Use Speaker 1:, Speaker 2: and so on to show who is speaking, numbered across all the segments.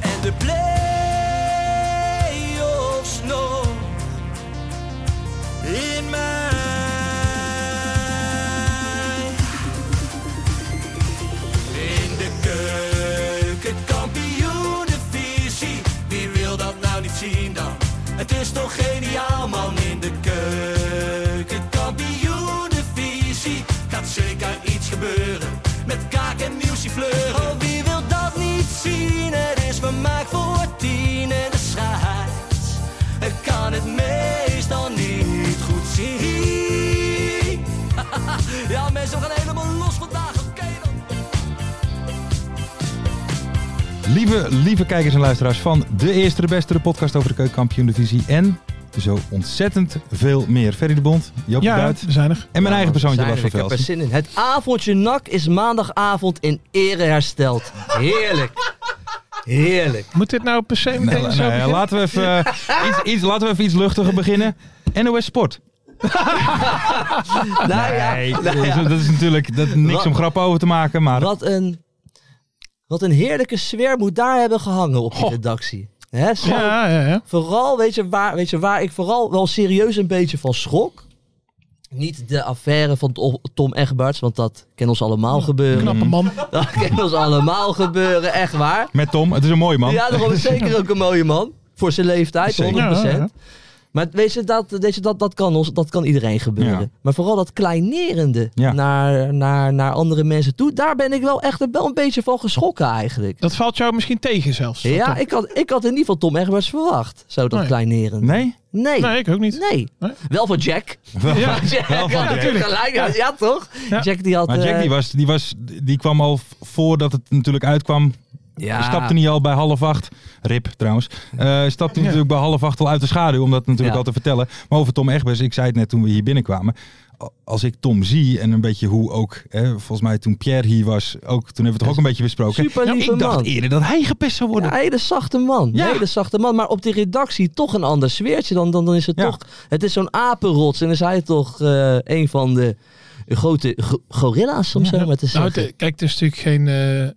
Speaker 1: En de play-offs nog
Speaker 2: In mij.
Speaker 1: in de keuken, kampioenenvisie. Wie wil dat nou niet zien dan? Het is toch geniaal man in de keuken, kampioenenvisie. Gaat zeker iets gebeuren met kaak en muziek fleuren. Oh, wie wil dat niet zien? Het is vermaakt voor tien en de scheids. Ik kan het meestal niet goed zien. Ja, mensen, we gaan helemaal los vandaag. Oké dan.
Speaker 3: Lieve, lieve kijkers en luisteraars van de eerste, de beste, de podcast over de keukenkampioen divisie en zo ontzettend veel meer. Ferry de Bond, Joop
Speaker 4: Ja,
Speaker 3: de Buit
Speaker 4: we zijn er.
Speaker 3: en mijn eigen persoontje Bas van
Speaker 1: Ik heb er
Speaker 3: Velsen.
Speaker 1: zin in. Het avondje NAC is maandagavond in ere hersteld. Heerlijk. Heerlijk.
Speaker 4: Moet dit nou per se meteen
Speaker 3: Nee,
Speaker 4: zo
Speaker 3: nee,
Speaker 4: beginnen?
Speaker 3: eh, laten, we even, eh, iets, iets, laten we even iets luchtiger beginnen. NOS Sport.
Speaker 1: Nou ja,
Speaker 3: Nee,
Speaker 1: nou
Speaker 3: dat
Speaker 1: ja.
Speaker 3: is- dat is natuurlijk dat, niks
Speaker 1: Wat-
Speaker 3: om grappen over te maken, maar
Speaker 1: Wat, een, wat een heerlijke sfeer moet daar hebben gehangen op die redactie. Hè, zo-
Speaker 4: Ja, ja, ja.
Speaker 1: Vooral, weet je, waar, weet je waar ik vooral wel serieus een beetje van schrok? Niet de affaire van To- Tom Egberts, want dat kan ons allemaal gebeuren.
Speaker 4: Knappe
Speaker 3: Mhm.
Speaker 4: man.
Speaker 1: Dat kan ons allemaal gebeuren, echt waar.
Speaker 3: met Tom, het is een mooi man.
Speaker 1: Ja, dat is zeker ook een mooie man. Voor zijn leeftijd,
Speaker 3: Zeker.
Speaker 1: 100%.
Speaker 4: Ja, ja.
Speaker 1: Maar weet je, dat, weet je, dat, dat, kan ons, dat kan iedereen gebeuren.
Speaker 3: Ja.
Speaker 1: Maar vooral dat kleinerende
Speaker 3: Ja.
Speaker 1: naar, naar, naar andere mensen toe. Daar ben ik wel echt wel een beetje van geschrokken eigenlijk.
Speaker 4: Dat valt jou misschien tegen zelfs.
Speaker 1: ja, ik had, ik had in ieder geval Tom Egberts verwacht. Zo dat
Speaker 4: Nee.
Speaker 1: kleinerende.
Speaker 3: Nee?
Speaker 1: Nee.
Speaker 4: Nee, ik ook niet.
Speaker 1: Nee.
Speaker 4: Nee.
Speaker 1: Wel van Jack.
Speaker 3: Wel-
Speaker 4: Ja.
Speaker 1: Jack
Speaker 3: wel van
Speaker 1: had
Speaker 3: Jack.
Speaker 4: natuurlijk.
Speaker 1: gelijk. Ja, ja, toch?
Speaker 4: Ja.
Speaker 1: Jack die had...
Speaker 3: Maar Jack
Speaker 1: eh,
Speaker 3: die, was, die, was, die kwam al voordat het natuurlijk uitkwam.
Speaker 1: ja.
Speaker 3: Stapte niet al bij half acht. Rip trouwens. Eh, stapte hij
Speaker 4: Ja.
Speaker 3: natuurlijk bij half acht al uit de schaduw. Om dat natuurlijk
Speaker 1: Ja.
Speaker 3: al te vertellen. Maar over Tom Egbers. Ik zei het net toen we hier binnenkwamen. A- Als ik Tom zie en een beetje hoe ook. Hè, volgens mij toen Pierre hier was. Ook, toen hebben we het toch ook een beetje besproken.
Speaker 1: Super
Speaker 3: Ja,
Speaker 1: lieve
Speaker 3: ik dacht
Speaker 1: man.
Speaker 3: eerder dat hij gepest zou worden.
Speaker 1: Ja, een hele zachte man.
Speaker 3: Ja.
Speaker 1: Een hele zachte man. Maar op die redactie toch een ander sfeertje. Dan, dan, dan is het
Speaker 3: Ja.
Speaker 1: toch... Het is zo'n apenrots. En dan is hij toch eh, een van de grote go- gorilla's, om zo maar te
Speaker 4: Nou,
Speaker 1: zeggen.
Speaker 4: het- kijk, het is natuurlijk geen eh,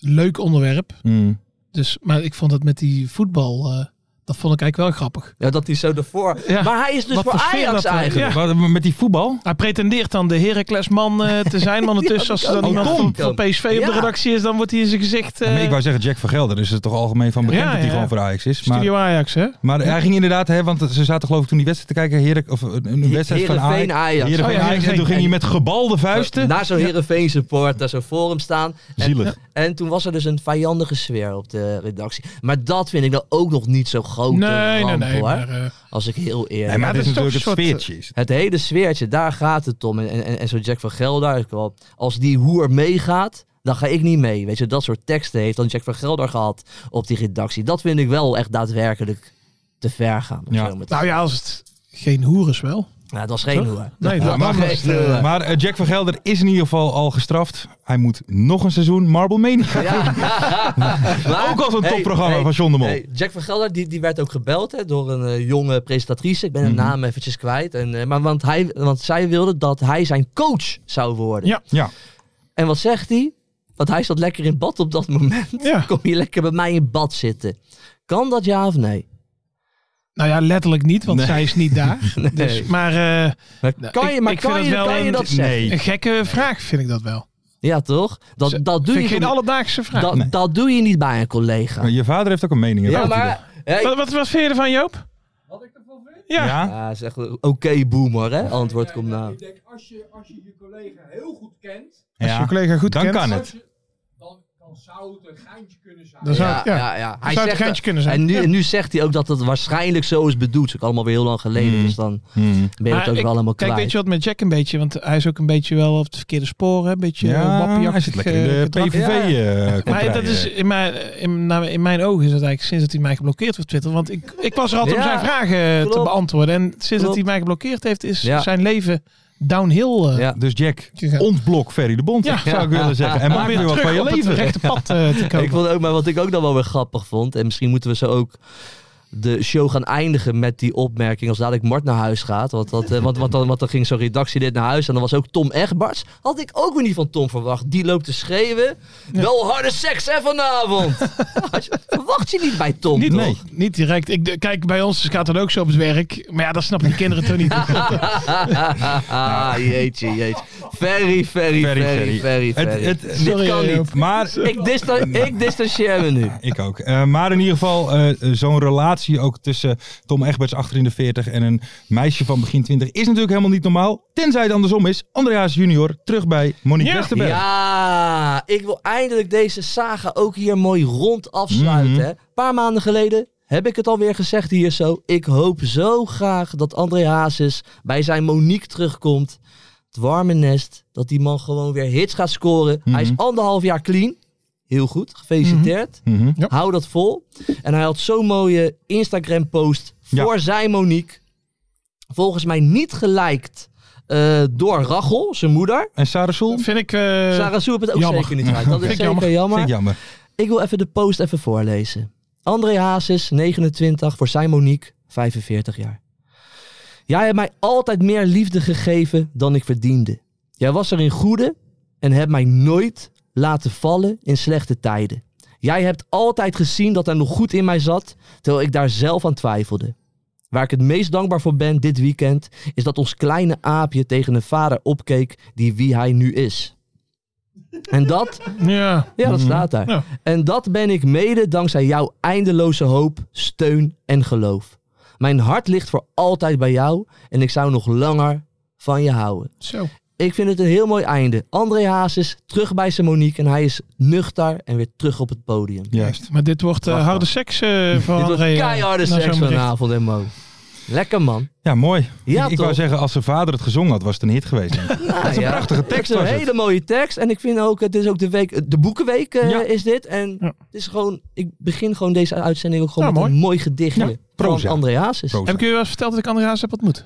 Speaker 4: leuk onderwerp.
Speaker 3: Hmm.
Speaker 4: Dus, maar ik vond het met die voetbal, eh, dat vond ik eigenlijk wel grappig.
Speaker 1: ja, dat hij zo ervoor...
Speaker 4: Ja.
Speaker 1: Maar hij is dus
Speaker 4: Wat
Speaker 1: voor
Speaker 4: voor sfeer
Speaker 1: Ajax
Speaker 4: dat er-
Speaker 1: eigenlijk.
Speaker 4: Ja.
Speaker 3: Wat, met die voetbal?
Speaker 4: Hij pretendeert dan de Heracles-man eh, te zijn, maar ondertussen als er dan
Speaker 1: kan.
Speaker 4: iemand
Speaker 1: Oh,
Speaker 4: van,
Speaker 1: Tom.
Speaker 4: van PSV op
Speaker 1: Ja.
Speaker 4: de redactie is, dan wordt hij in zijn gezicht eh,
Speaker 3: Ja, maar ik wou zeggen Jack van Gelder. Dus het is toch algemeen van bekend
Speaker 4: Ja,
Speaker 3: dat hij
Speaker 4: ja.
Speaker 3: gewoon voor Ajax is. Maar,
Speaker 4: Studio Ajax, hè?
Speaker 3: maar hij ging inderdaad. Hè, want ze zaten geloof ik toen die wedstrijd te kijken. Heerlijk, of een- een wedstrijd van Ajax.
Speaker 1: Heerenveen Ajax.
Speaker 3: Heerenveen,
Speaker 4: Oh ja,
Speaker 3: Ajax. En
Speaker 4: Heerenveen.
Speaker 3: toen ging hij met gebalde vuisten.
Speaker 1: Naar zo'n Heerenveen support, naar zo'n forum staan. En,
Speaker 3: Zielig.
Speaker 1: en toen was er dus een vijandige sfeer op de redactie. Maar dat vind ik dan ook nog niet zo groot.
Speaker 4: Nee, nee, nee.
Speaker 1: hoor.
Speaker 4: maar, eh,
Speaker 1: Als ik heel eerlijk
Speaker 3: Nee, maar
Speaker 4: Ja,
Speaker 3: het is
Speaker 4: dat is
Speaker 3: natuurlijk
Speaker 4: toch
Speaker 3: het
Speaker 4: een soort,
Speaker 3: sfeertje. is het.
Speaker 1: Het hele sfeertje, daar gaat het om. En, en, en- en zo Jack van Gelder, ik wel, als die hoer meegaat, dan ga ik niet mee. Weet je, dat soort teksten heeft dan Jack van Gelder gehad op die redactie. Dat vind ik wel echt daadwerkelijk te ver gaan. om
Speaker 3: Ja.
Speaker 1: zo maar te-
Speaker 4: nou ja, als het geen hoer is wel.
Speaker 1: Nou, dat was geen
Speaker 4: toch?
Speaker 1: hoer.
Speaker 4: Nee,
Speaker 3: Ja,
Speaker 4: dat
Speaker 3: maar-
Speaker 4: was het, eh,
Speaker 3: Maar eh, Jack van Gelder is in ieder geval al gestraft. Hij moet nog een seizoen Marble Mania.
Speaker 1: Ja. Maar-
Speaker 3: Ook als een
Speaker 1: Hey,
Speaker 3: topprogramma
Speaker 1: hey,
Speaker 3: van John de Mol.
Speaker 1: hey, Jack van Gelder die, die werd ook gebeld hè, door een eh, jonge presentatrice. Ik ben haar naam eventjes kwijt. En, eh, maar want, hij, want zij wilde dat hij zijn coach zou worden.
Speaker 4: Ja.
Speaker 3: Ja,
Speaker 1: En wat zegt hij? Want hij zat lekker in bad op dat moment.
Speaker 4: Ja.
Speaker 1: Kom je lekker bij mij in bad zitten? Kan dat ja of nee?
Speaker 4: Nou ja, letterlijk niet, want
Speaker 3: Nee.
Speaker 4: zij is niet daar. Dus, maar eh,
Speaker 1: Maar
Speaker 4: Nou,
Speaker 1: kan
Speaker 4: ik-
Speaker 1: je, maar
Speaker 4: ik
Speaker 1: kan
Speaker 4: vind
Speaker 1: je,
Speaker 4: het wel
Speaker 1: kan je
Speaker 4: een-
Speaker 1: dat zeggen?
Speaker 3: nee.
Speaker 4: een gekke vraag vind ik dat wel.
Speaker 1: Ja, toch? Dat,
Speaker 4: Ze-
Speaker 1: dat, doe
Speaker 4: Vind
Speaker 1: je
Speaker 4: ik geen
Speaker 1: gewoon-
Speaker 4: alledaagse vraag.
Speaker 1: dat,
Speaker 3: Nee.
Speaker 1: dat doe je niet bij een collega.
Speaker 3: Maar je vader heeft ook een mening.
Speaker 1: Ja,
Speaker 3: over
Speaker 1: maar... Hey.
Speaker 4: Wat, wat, wat vind je ervan, Joop? Wat ik ervan vind? Ja.
Speaker 3: Ja?
Speaker 1: Ja, zeg oké boomer, hè? Antwoord komt nou.
Speaker 4: Als je
Speaker 3: Ja.
Speaker 4: je collega goed
Speaker 3: Dan
Speaker 4: kent.
Speaker 3: kan het.
Speaker 4: Dan zou, ja,
Speaker 1: Hij
Speaker 4: zou het
Speaker 1: zegt
Speaker 4: een geintje kunnen zijn.
Speaker 1: en nu,
Speaker 4: Ja.
Speaker 1: en nu zegt hij ook dat het waarschijnlijk zo is bedoeld. Dat is ook allemaal weer heel lang geleden,
Speaker 3: Hmm.
Speaker 1: dus dan
Speaker 3: Hmm.
Speaker 1: ben je
Speaker 4: Maar
Speaker 1: het ook
Speaker 4: ik-
Speaker 1: wel allemaal
Speaker 4: Kijk,
Speaker 1: kwijt.
Speaker 4: weet je wat met Jack een beetje? Want hij is ook een beetje wel op de verkeerde sporen. Een beetje
Speaker 3: Ja,
Speaker 4: eh, wappie
Speaker 3: hij zit lekker in de PVV. eh
Speaker 4: Maar dat is, in mijn, in, nou, in mijn ogen is het eigenlijk sinds dat hij mij geblokkeerd heeft op Twitter. Want ik, ik was er altijd om
Speaker 1: Ja,
Speaker 4: zijn vragen te
Speaker 1: klopt.
Speaker 4: beantwoorden. En sinds dat
Speaker 1: Klopt.
Speaker 4: hij mij geblokkeerd heeft, is
Speaker 1: Ja.
Speaker 4: zijn leven downhill eh
Speaker 1: Ja.
Speaker 3: Dus Jack,
Speaker 4: gegaan.
Speaker 3: ontblok Ferry de Bond,
Speaker 4: Ja.
Speaker 3: zou ik willen zeggen. En
Speaker 4: Om
Speaker 3: maak weer wat
Speaker 4: terug
Speaker 3: van je
Speaker 4: op het
Speaker 3: leven.
Speaker 4: rechte pad eh, te komen.
Speaker 1: Ik vond ook, maar wat ik ook dan wel weer grappig vond. En misschien moeten we zo ook de show gaan eindigen met die opmerking. Als dadelijk Mart naar huis gaat. Want, dat, eh, want, want, dan, want dan ging zo'n redactie dit naar huis. En dan was ook Tom Egberts. Had ik ook weer niet van Tom verwacht. Die loopt te schreeuwen. Wel harde seks hè vanavond. Had je- Verwacht je niet bij Tom.
Speaker 4: Niet,
Speaker 1: toch?
Speaker 4: nee, niet direct. Ik, de- kijk, bij ons gaat dat ook zo op het werk. Maar ja, dat snappen die kinderen toch niet.
Speaker 1: Ah, jeetje, jeetje. Very, very, very, very, very.
Speaker 3: Het- het-
Speaker 1: Dit
Speaker 4: Sorry, eh,
Speaker 1: kan
Speaker 4: Joop.
Speaker 1: niet.
Speaker 3: Maar
Speaker 1: Ik, dista ik distancieer me nu.
Speaker 3: Ik ook. Eh, maar in ieder geval, eh, zo'n relatie ook tussen Tom Egberts achter in de 40 en een meisje van begin 20 is natuurlijk helemaal niet normaal. Tenzij het andersom is. Andreas junior terug bij Monique
Speaker 4: Ja.
Speaker 3: Westerberg.
Speaker 1: Ja, ik wil eindelijk deze saga ook hier mooi rond afsluiten.
Speaker 3: Mhm.
Speaker 1: hè. Een paar maanden geleden heb ik het alweer gezegd hier zo. Ik hoop zo graag dat André Hazes bij zijn Monique terugkomt. Het warme nest, dat die man gewoon weer hits gaat scoren. Hij is anderhalf jaar clean. Heel goed, gefeliciteerd.
Speaker 3: Mhm.
Speaker 4: Ja.
Speaker 1: Hou dat vol. En hij had zo'n mooie Instagram-post
Speaker 3: Ja.
Speaker 1: voor zijn Monique. Volgens mij niet geliked eh, door Rachel, zijn moeder.
Speaker 3: En Sarah Soel?
Speaker 4: Dat
Speaker 3: Vind
Speaker 4: vind ik... eh,
Speaker 1: Sarah Soe heeft het ook
Speaker 4: jammer.
Speaker 1: zeker niet uit. Dat is
Speaker 4: Vind ik
Speaker 1: zeker
Speaker 4: jammer.
Speaker 1: jammer.
Speaker 3: ik jammer.
Speaker 1: Ik wil even de post even voorlezen. André Hazes, 29, voor zijn Monique, 45 jaar. Jij hebt mij altijd meer liefde gegeven dan ik verdiende. Jij was er in goede en hebt mij nooit laten vallen in slechte tijden. Jij hebt altijd gezien dat er nog goed in mij zat, terwijl ik daar zelf aan twijfelde. Waar ik het meest dankbaar voor ben dit weekend, is dat ons kleine aapje tegen een vader opkeek die wie hij nu is. En dat
Speaker 4: ja.
Speaker 1: ja, dat staat daar.
Speaker 4: Mhm. Ja.
Speaker 1: En dat ben ik mede dankzij jouw eindeloze hoop, steun en geloof. Mijn hart ligt voor altijd bij jou en ik zou nog langer van je houden.
Speaker 4: Zo.
Speaker 1: Ik vind het een heel mooi einde. André Haas is terug bij zijn Monique en hij is nuchter en weer terug op het podium.
Speaker 3: Juist.
Speaker 4: Maar dit wordt eh, harde seks eh van
Speaker 1: Dit wordt
Speaker 4: André, eh,
Speaker 1: keiharde
Speaker 4: na
Speaker 1: seks
Speaker 4: zo'n bericht.
Speaker 1: vanavond en Mo. Lekker man.
Speaker 3: Ja, mooi.
Speaker 1: Ja,
Speaker 3: ik, ik wou
Speaker 1: toch?
Speaker 3: zeggen, als zijn vader het gezongen had, was het een hit geweest. denk ik.
Speaker 1: Ah, dat is een prachtige
Speaker 3: tekst
Speaker 1: Een
Speaker 3: was het.
Speaker 1: hele mooie tekst. En ik vind ook, het is ook de week, de boekenweek eh,
Speaker 3: Ja.
Speaker 1: is dit. En
Speaker 4: Ja.
Speaker 1: het is gewoon, ik begin gewoon deze uitzending ook gewoon
Speaker 4: Ja,
Speaker 1: met
Speaker 4: mooi.
Speaker 1: een mooi gedichtje.
Speaker 3: Ja, proza.
Speaker 1: Van André Hazes.
Speaker 3: Proza.
Speaker 4: Heb ik u wel eens verteld dat ik André Haas heb ontmoet?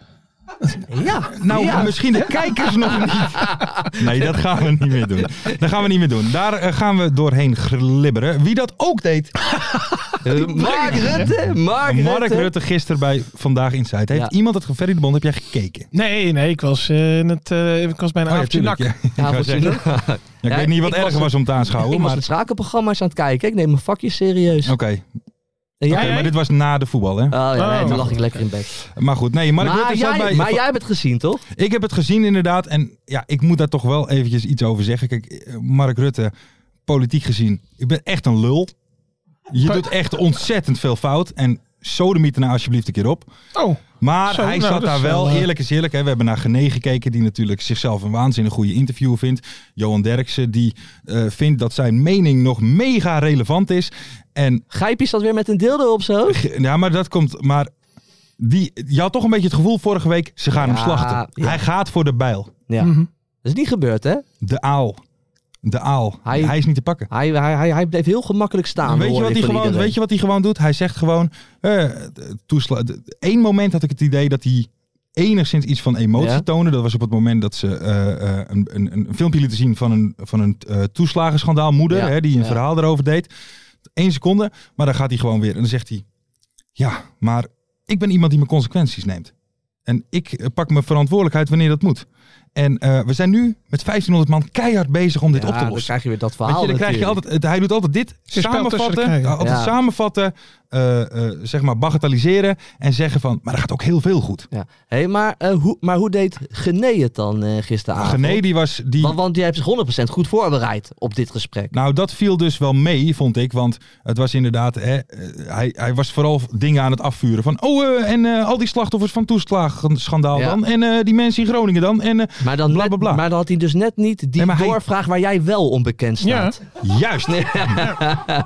Speaker 1: Ja.
Speaker 3: Nou,
Speaker 1: Ja.
Speaker 3: misschien de kijkers nog niet. Nee, dat gaan we niet meer doen. Dat gaan we niet meer doen. Daar eh, gaan we doorheen glibberen. Wie dat ook deed,
Speaker 1: Eh, Mark Rutte. Mark,
Speaker 3: Mark
Speaker 1: Rutte.
Speaker 3: Rutte gisteren bij Vandaag Insight. Heeft
Speaker 1: Ja.
Speaker 3: iemand het ge- Ferry de Bond, heb jij gekeken?
Speaker 4: Nee, nee. Ik was, eh, in het, eh, ik was bij een
Speaker 3: Oh ja,
Speaker 4: avondje
Speaker 3: tuurlijk,
Speaker 4: nak.
Speaker 3: ja. Ik wou
Speaker 1: Avondje
Speaker 3: zeggen,
Speaker 1: nog.
Speaker 3: ja, ik
Speaker 1: Ja,
Speaker 3: weet niet wat
Speaker 1: ik was
Speaker 3: erger was,
Speaker 1: het-
Speaker 3: om te
Speaker 1: Ik
Speaker 3: aanschouwen,
Speaker 1: was
Speaker 3: maar...
Speaker 1: het schakelprogramma's aan het kijken. Ik neem mijn vakje serieus.
Speaker 3: Oké,
Speaker 1: En jij?
Speaker 3: Oké,
Speaker 4: jij?
Speaker 3: maar dit was na de voetbal, hè?
Speaker 1: Oh ja, nee,
Speaker 4: Oh.
Speaker 1: dan lag ik lekker in bed.
Speaker 3: Maar goed, nee, Mark
Speaker 1: Maar
Speaker 3: Rutte zat
Speaker 1: jij,
Speaker 3: bij...
Speaker 1: maar jij hebt het gezien, toch?
Speaker 3: Ik heb het gezien inderdaad en ja, ik moet daar toch wel eventjes iets over zeggen. Kijk, eh, Mark Rutte, politiek gezien, ik ben echt een lul. Je doet echt ontzettend veel fout en sodemiet nou alsjeblieft een keer op.
Speaker 4: Oh,
Speaker 3: Maar
Speaker 4: Zo,
Speaker 3: hij
Speaker 4: nou,
Speaker 3: zat
Speaker 4: dat
Speaker 3: daar
Speaker 4: is
Speaker 3: wel,
Speaker 4: wel, eh,
Speaker 3: eerlijk is eerlijk. Hè, we hebben naar Gené gekeken, die natuurlijk zichzelf een waanzinnig goede interview vindt. Johan Derksen, die eh, vindt dat zijn mening nog mega relevant is. En
Speaker 1: Gijpje staat weer met een deel erop zo.
Speaker 3: ja, maar dat komt. Maar die, je had toch een beetje het gevoel vorige week, ze gaan hem
Speaker 1: Ja,
Speaker 3: slachten.
Speaker 1: ja.
Speaker 3: Hij gaat voor de bijl.
Speaker 1: Ja.
Speaker 4: Mhm.
Speaker 1: Dat is niet gebeurd, hè?
Speaker 3: De aal. De aal. Hij,
Speaker 1: Hij-
Speaker 3: is niet te pakken.
Speaker 1: Hij, hij, hij, hij bleef heel gemakkelijk staan.
Speaker 3: weet, je
Speaker 1: hoor
Speaker 3: wat
Speaker 1: ik
Speaker 3: hij
Speaker 1: van
Speaker 3: gewoon,
Speaker 1: iedereen.
Speaker 3: weet je wat hij gewoon doet? Hij zegt gewoon. eh toesla- Eén moment had ik het idee dat hij enigszins iets van emotie
Speaker 1: Ja.
Speaker 3: toonde. Dat was op het moment dat ze eh, eh, een, een, een filmpje lieten zien van een, van een eh, toeslagenschandaal. Moeder,
Speaker 1: Ja,
Speaker 3: hè, die een
Speaker 1: ja.
Speaker 3: verhaal erover deed. Eén seconde. Maar dan gaat hij gewoon weer. En dan zegt hij. Ja, maar ik ben iemand die mijn consequenties neemt. En ik eh, pak mijn verantwoordelijkheid wanneer dat moet. En eh, we zijn nu met 1500 man keihard bezig om dit op te
Speaker 1: Ja, dan
Speaker 3: lossen.
Speaker 1: krijg je weer dat
Speaker 3: Weet
Speaker 1: verhaal
Speaker 3: je, dan krijg je
Speaker 1: natuurlijk.
Speaker 3: altijd, het- hij doet altijd dit,
Speaker 4: spel tussen de
Speaker 3: samenvatten,
Speaker 4: krijgen.
Speaker 3: altijd
Speaker 1: Ja.
Speaker 3: samenvatten, eh, eh, zeg maar bagatelliseren en zeggen van, maar er gaat ook heel veel goed.
Speaker 1: Ja. Hey, maar, eh, hoe, maar hoe deed Gené het dan eh gisteravond?
Speaker 3: Gené die was, die,
Speaker 1: Want, want die heeft zich 100% goed voorbereid op dit gesprek.
Speaker 3: Nou, dat viel dus wel mee, vond ik. Want het was inderdaad, hè, eh, hij, hij was vooral dingen aan het afvuren. Van, oh, eh, en eh, al die slachtoffers van toeslagenschandaal
Speaker 1: Ja.
Speaker 3: dan. En eh, die mensen in Groningen dan. En eh,
Speaker 1: Maar dan,
Speaker 3: Bla,
Speaker 1: net-
Speaker 3: bla, bla.
Speaker 1: maar dan had hij dus net niet die
Speaker 3: Nee, maar hij-
Speaker 1: doorvraag waar jij wel onbekend
Speaker 4: Ja.
Speaker 1: staat.
Speaker 3: juist.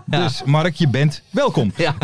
Speaker 3: Dus Mark, je bent welkom.
Speaker 1: Ja.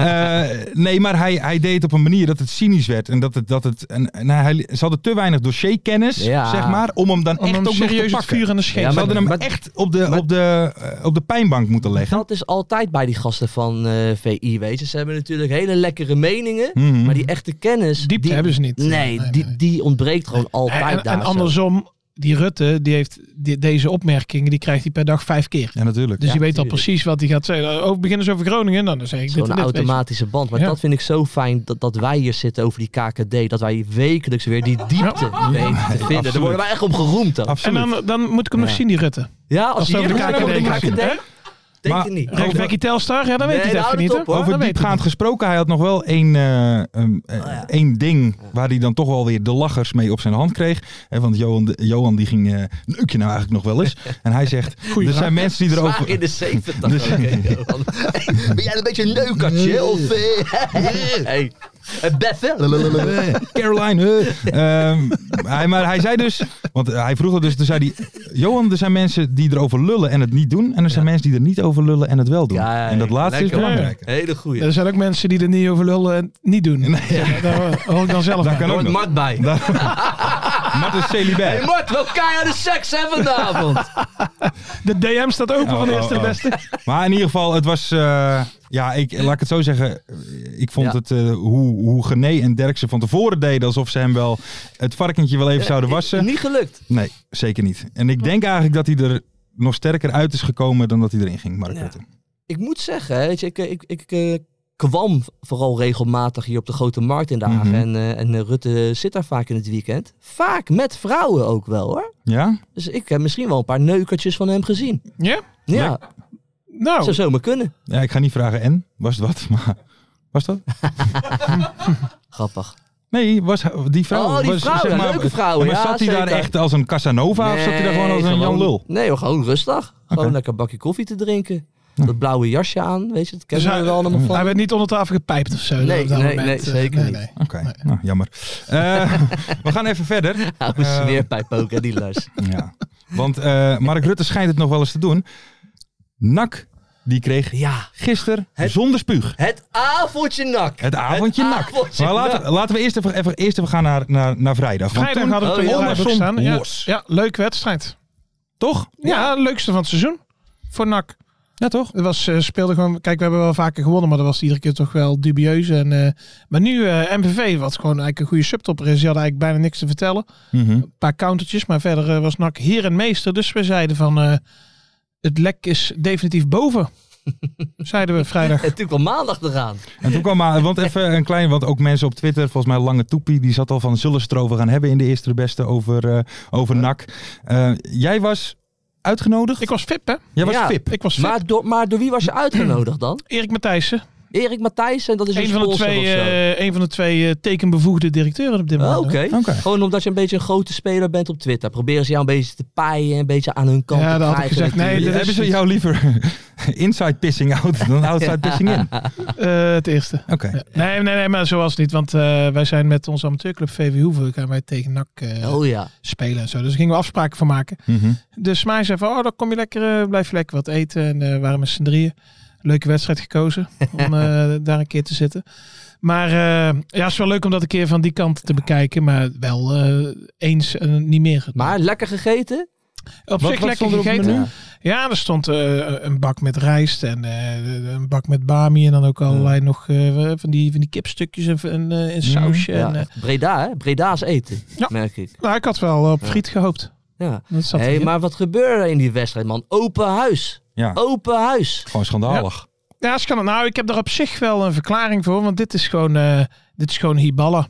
Speaker 3: Eh, nee, maar hij, hij deed het op een manier dat het cynisch werd. En dat het, dat het en, en hij, ze hadden te weinig dossierkennis,
Speaker 1: Ja.
Speaker 3: zeg maar, om hem dan
Speaker 4: Om
Speaker 3: echt
Speaker 4: hem
Speaker 3: ook nog te
Speaker 4: serieus het
Speaker 3: pakken.
Speaker 4: vuur aan de scheet.
Speaker 1: Ja,
Speaker 3: ze
Speaker 1: maar-
Speaker 3: hadden hem
Speaker 1: maar-
Speaker 3: echt op de,
Speaker 1: maar-
Speaker 3: op, de, eh, op de pijnbank moeten leggen.
Speaker 1: Dat is altijd bij die gasten van eh, VI, weet je. Ze hebben natuurlijk hele lekkere meningen,
Speaker 3: Mhm.
Speaker 1: maar die echte kennis...
Speaker 4: Diepte
Speaker 1: Dus die,
Speaker 4: hebben ze niet.
Speaker 1: Nee, Die, die ontbreekt gewoon altijd
Speaker 4: En,
Speaker 1: daar
Speaker 4: en
Speaker 1: zo.
Speaker 4: andersom, die Rutte, die heeft die- deze opmerkingen, die krijgt hij per dag vijf keer.
Speaker 3: Ja, natuurlijk.
Speaker 4: Dus
Speaker 1: Ja,
Speaker 4: je weet al
Speaker 1: tuurlijk.
Speaker 4: precies wat hij gaat zeggen. Oh, beginnen ze over Groningen? Nou, dan zeg ik dit en
Speaker 1: Zo'n
Speaker 4: dit, weet je.
Speaker 1: automatische band. Maar
Speaker 4: Ja.
Speaker 1: dat vind ik zo fijn dat, dat wij hier zitten over die KKD. Dat wij wekelijks weer die diepte weten te vinden. Daar
Speaker 3: absoluut.
Speaker 1: worden wij echt om geroemd. ook.
Speaker 4: En
Speaker 3: Absoluut.
Speaker 4: dan, dan moet ik hem
Speaker 1: Ja.
Speaker 4: nog zien, die Rutte.
Speaker 1: Ja, als
Speaker 4: Als
Speaker 1: je
Speaker 4: het over de
Speaker 3: Ja,
Speaker 4: KKD
Speaker 3: dat
Speaker 1: over de
Speaker 3: gaat.
Speaker 4: gaat.
Speaker 1: KKD,
Speaker 4: Hè?
Speaker 1: denk
Speaker 3: Maar-
Speaker 1: je niet.
Speaker 3: Over-
Speaker 4: Rechtsbekkie Telstar, ja, dat
Speaker 1: Nee,
Speaker 4: weet hij het
Speaker 1: nou,
Speaker 4: even niet.
Speaker 1: dat
Speaker 4: hè?
Speaker 1: op, hoor.
Speaker 4: Dat
Speaker 3: Over
Speaker 4: weet ik
Speaker 3: diepgaand gesproken, hij had nog wel één, eh,
Speaker 1: Oh,
Speaker 3: ehm, eh, één ding waar hij dan toch wel weer de lachers mee op zijn hand kreeg. Hè, want Johan, de- Johan die ging, eh neuk je nou eigenlijk nog wel eens? En hij zegt, er zijn mensen die
Speaker 1: Zwaar in
Speaker 3: erover...
Speaker 1: de 70.
Speaker 3: Dus-
Speaker 1: oké, Johan. Hey, ben jij een beetje een neukertje? Of, eh, hey, een beffen?
Speaker 3: Eh, Caroline, eh. Ehm, hij, maar hij zei dus, want hij vroeg dat dus, toen zei hij, Johan, er zijn mensen die erover lullen en het niet doen. En er zijn mensen die er niet over lullen en het wel doen.
Speaker 1: Kijk,
Speaker 3: en dat laatste
Speaker 1: lekker.
Speaker 3: is belangrijk.
Speaker 1: Hele goeie.
Speaker 4: Er zijn ook mensen die er niet over lullen en niet doen. Ja, daar hoor ik dan zelf
Speaker 3: Daar
Speaker 4: aan.
Speaker 3: kan
Speaker 1: Er
Speaker 3: ook
Speaker 1: hoort Mart
Speaker 3: nog.
Speaker 1: bij.
Speaker 3: Maar het is
Speaker 1: Hey
Speaker 3: celibair.
Speaker 1: Mart, wel keiharde seks hè vanavond.
Speaker 4: De DM staat open
Speaker 3: Oh,
Speaker 4: van de
Speaker 3: oh,
Speaker 4: eerste
Speaker 3: oh.
Speaker 4: de beste.
Speaker 3: Maar in ieder geval, het was. eh, ja, ik, laat ik het zo zeggen. Ik vond
Speaker 1: Ja.
Speaker 3: het. eh, hoe, hoe Gené en Dirk ze van tevoren deden. alsof ze hem wel. het varkentje wel even zouden wassen.
Speaker 1: Eh, Niet Hm. gelukt.
Speaker 3: Nee, zeker niet. En ik denk eigenlijk dat hij er nog sterker uit is gekomen. dan dat hij erin ging, Mark
Speaker 1: Ja.
Speaker 3: Rutte.
Speaker 1: ik moet zeggen, hè, weet je, ik, ik, ik eh, kwam vooral regelmatig hier op de Grote Markt in dagen.
Speaker 3: Mhm.
Speaker 1: En, eh, en eh, Rutte zit daar vaak in het weekend. Vaak met vrouwen ook wel hoor.
Speaker 3: Ja?
Speaker 1: Dus ik heb misschien wel een paar neukertjes van hem gezien.
Speaker 4: Ja?
Speaker 1: Ja,
Speaker 3: Oh.
Speaker 1: zou
Speaker 4: Nou,
Speaker 1: zomaar kunnen.
Speaker 3: ja? Ik ga niet vragen en. Was het wat? Maar. Was dat?
Speaker 1: Grappig.
Speaker 3: Nee, was die vrouw.
Speaker 1: Oh, die
Speaker 3: was,
Speaker 1: vrouwen, leuke vrouwen,
Speaker 3: Maar
Speaker 1: ja,
Speaker 3: zat hij daar
Speaker 1: zeker.
Speaker 3: echt als een Casanova? of zat hij daar gewoon als een Jan Lul?
Speaker 1: Nee, hoor, gewoon rustig. Gewoon
Speaker 3: Oké.
Speaker 1: lekker een bakje koffie te drinken. Dat blauwe jasje aan, weet je, dat kennen
Speaker 4: Dus
Speaker 1: we wel allemaal van.
Speaker 4: hij werd niet onder tafel gepijpt of zo.
Speaker 1: Nee,
Speaker 4: op dat
Speaker 1: nee,
Speaker 4: moment.
Speaker 1: nee, zeker niet.
Speaker 3: Oké, nou jammer. Eh, we gaan even verder.
Speaker 1: Oude
Speaker 3: eh,
Speaker 1: smeerpijp ook, hè, die Lars.
Speaker 3: Ja. Want eh, Mark Rutte schijnt het nog wel eens te doen. Nak, die kreeg
Speaker 1: Ja,
Speaker 3: gisteren
Speaker 1: Het-
Speaker 3: zonder spuug.
Speaker 1: het avondje nak.
Speaker 3: Het avondje
Speaker 1: Het
Speaker 3: nak.
Speaker 1: avondje
Speaker 3: maar laten,
Speaker 1: nak.
Speaker 3: laten we eerst even, even, eerst even gaan naar, naar, naar vrijdag. Want
Speaker 4: Vrijdag
Speaker 3: toen-
Speaker 4: hadden we
Speaker 1: Oh,
Speaker 4: het
Speaker 1: ja.
Speaker 4: oh, ja.
Speaker 3: Ondersom
Speaker 4: staan. Ja.
Speaker 3: los.
Speaker 4: ja, leuke wedstrijd.
Speaker 3: Toch?
Speaker 4: Ja, leukste van het seizoen. Voor NAC.
Speaker 3: Ja, toch?
Speaker 4: Het was, eh, speelde gewoon, kijk, we hebben wel vaker gewonnen, maar dat was iedere keer toch wel dubieus. En, eh, maar nu eh, MVV, wat gewoon eigenlijk een goede subtopper is, die hadden eigenlijk bijna niks te vertellen.
Speaker 3: Mhm.
Speaker 4: Een paar countertjes, maar verder eh, was NAC heer en meester. Dus we zeiden van, eh, het lek is definitief boven, zeiden we vrijdag.
Speaker 1: En toen kwam maandag eraan.
Speaker 3: En toen kwam maar, want even een klein, want ook mensen op Twitter, volgens mij Lange Toepie, die zat al van zullen ze het erover gaan hebben in de eerste de beste over, eh, over NAC. Eh, jij was uitgenodigd?
Speaker 4: Ik was fip, hè?
Speaker 3: jij was
Speaker 1: Ja.
Speaker 3: VIP.
Speaker 4: Ik was fip.
Speaker 1: Maar door, maar door wie was je uitgenodigd dan?
Speaker 4: Erik Matthijssen,
Speaker 1: Erik Matthijs en dat is een
Speaker 4: een van, de
Speaker 1: sponsor
Speaker 4: twee,
Speaker 1: of zo.
Speaker 4: eh, een van de twee eh, tekenbevoegde directeuren op dit
Speaker 1: Oh,
Speaker 4: moment.
Speaker 1: Oké.
Speaker 3: Oké.
Speaker 1: Gewoon omdat je een beetje een grote speler bent op Twitter. Proberen ze jou een beetje te paaien, een beetje aan hun kant
Speaker 4: Ja,
Speaker 1: te
Speaker 4: dat had ik
Speaker 1: krijgen
Speaker 4: gezegd. Nee,
Speaker 1: natuurlijk.
Speaker 4: dat
Speaker 3: Hebben
Speaker 4: is
Speaker 3: ze
Speaker 4: niet-
Speaker 3: jou liever inside pissing out dan outside pissing in? Oké.
Speaker 4: Eh, het eerste. Nee, nee, nee, maar zo was het niet. Want eh, wij zijn met onze amateurclub VV Hoeven gaan wij tegen NAC eh,
Speaker 1: Oh ja.
Speaker 4: spelen en zo. Dus daar gingen we afspraken van maken.
Speaker 3: Mhm.
Speaker 4: Dus mij zei van, oh, dan kom je lekker, eh, blijf je lekker wat eten. En eh, we waren met z'n drieën. Leuke wedstrijd gekozen om eh, daar een keer te zitten. Maar eh, ja, het is wel leuk om dat een keer van die kant te bekijken. Maar wel eh, eens en niet meer.
Speaker 1: Maar lekker gegeten?
Speaker 3: wat-
Speaker 4: op zich
Speaker 3: wat
Speaker 4: lekker
Speaker 3: stond er op het
Speaker 4: gegeten.
Speaker 3: menu?
Speaker 1: Ja.
Speaker 4: Ja, er stond eh, een bak met rijst en eh, een bak met bami. En dan ook allerlei
Speaker 1: Mm.
Speaker 4: nog eh, van, die, van die kipstukjes en, en, eh, en sausje.
Speaker 1: Ja,
Speaker 4: en, eh,
Speaker 1: echt Breda, hè? Breda's eten,
Speaker 4: Ja.
Speaker 1: merk ik.
Speaker 4: nou, ik had wel op friet gehoopt.
Speaker 1: Ja.
Speaker 4: Dat zat
Speaker 1: hey,
Speaker 4: erin.
Speaker 1: maar wat gebeurde er in die wedstrijd, man? Open huis.
Speaker 3: Ja.
Speaker 1: Open huis.
Speaker 3: Gewoon schandalig.
Speaker 4: Ja, Scanner, nou, ik heb daar op zich wel een verklaring voor. Want dit is gewoon, eh, dit is gewoon Hiballa.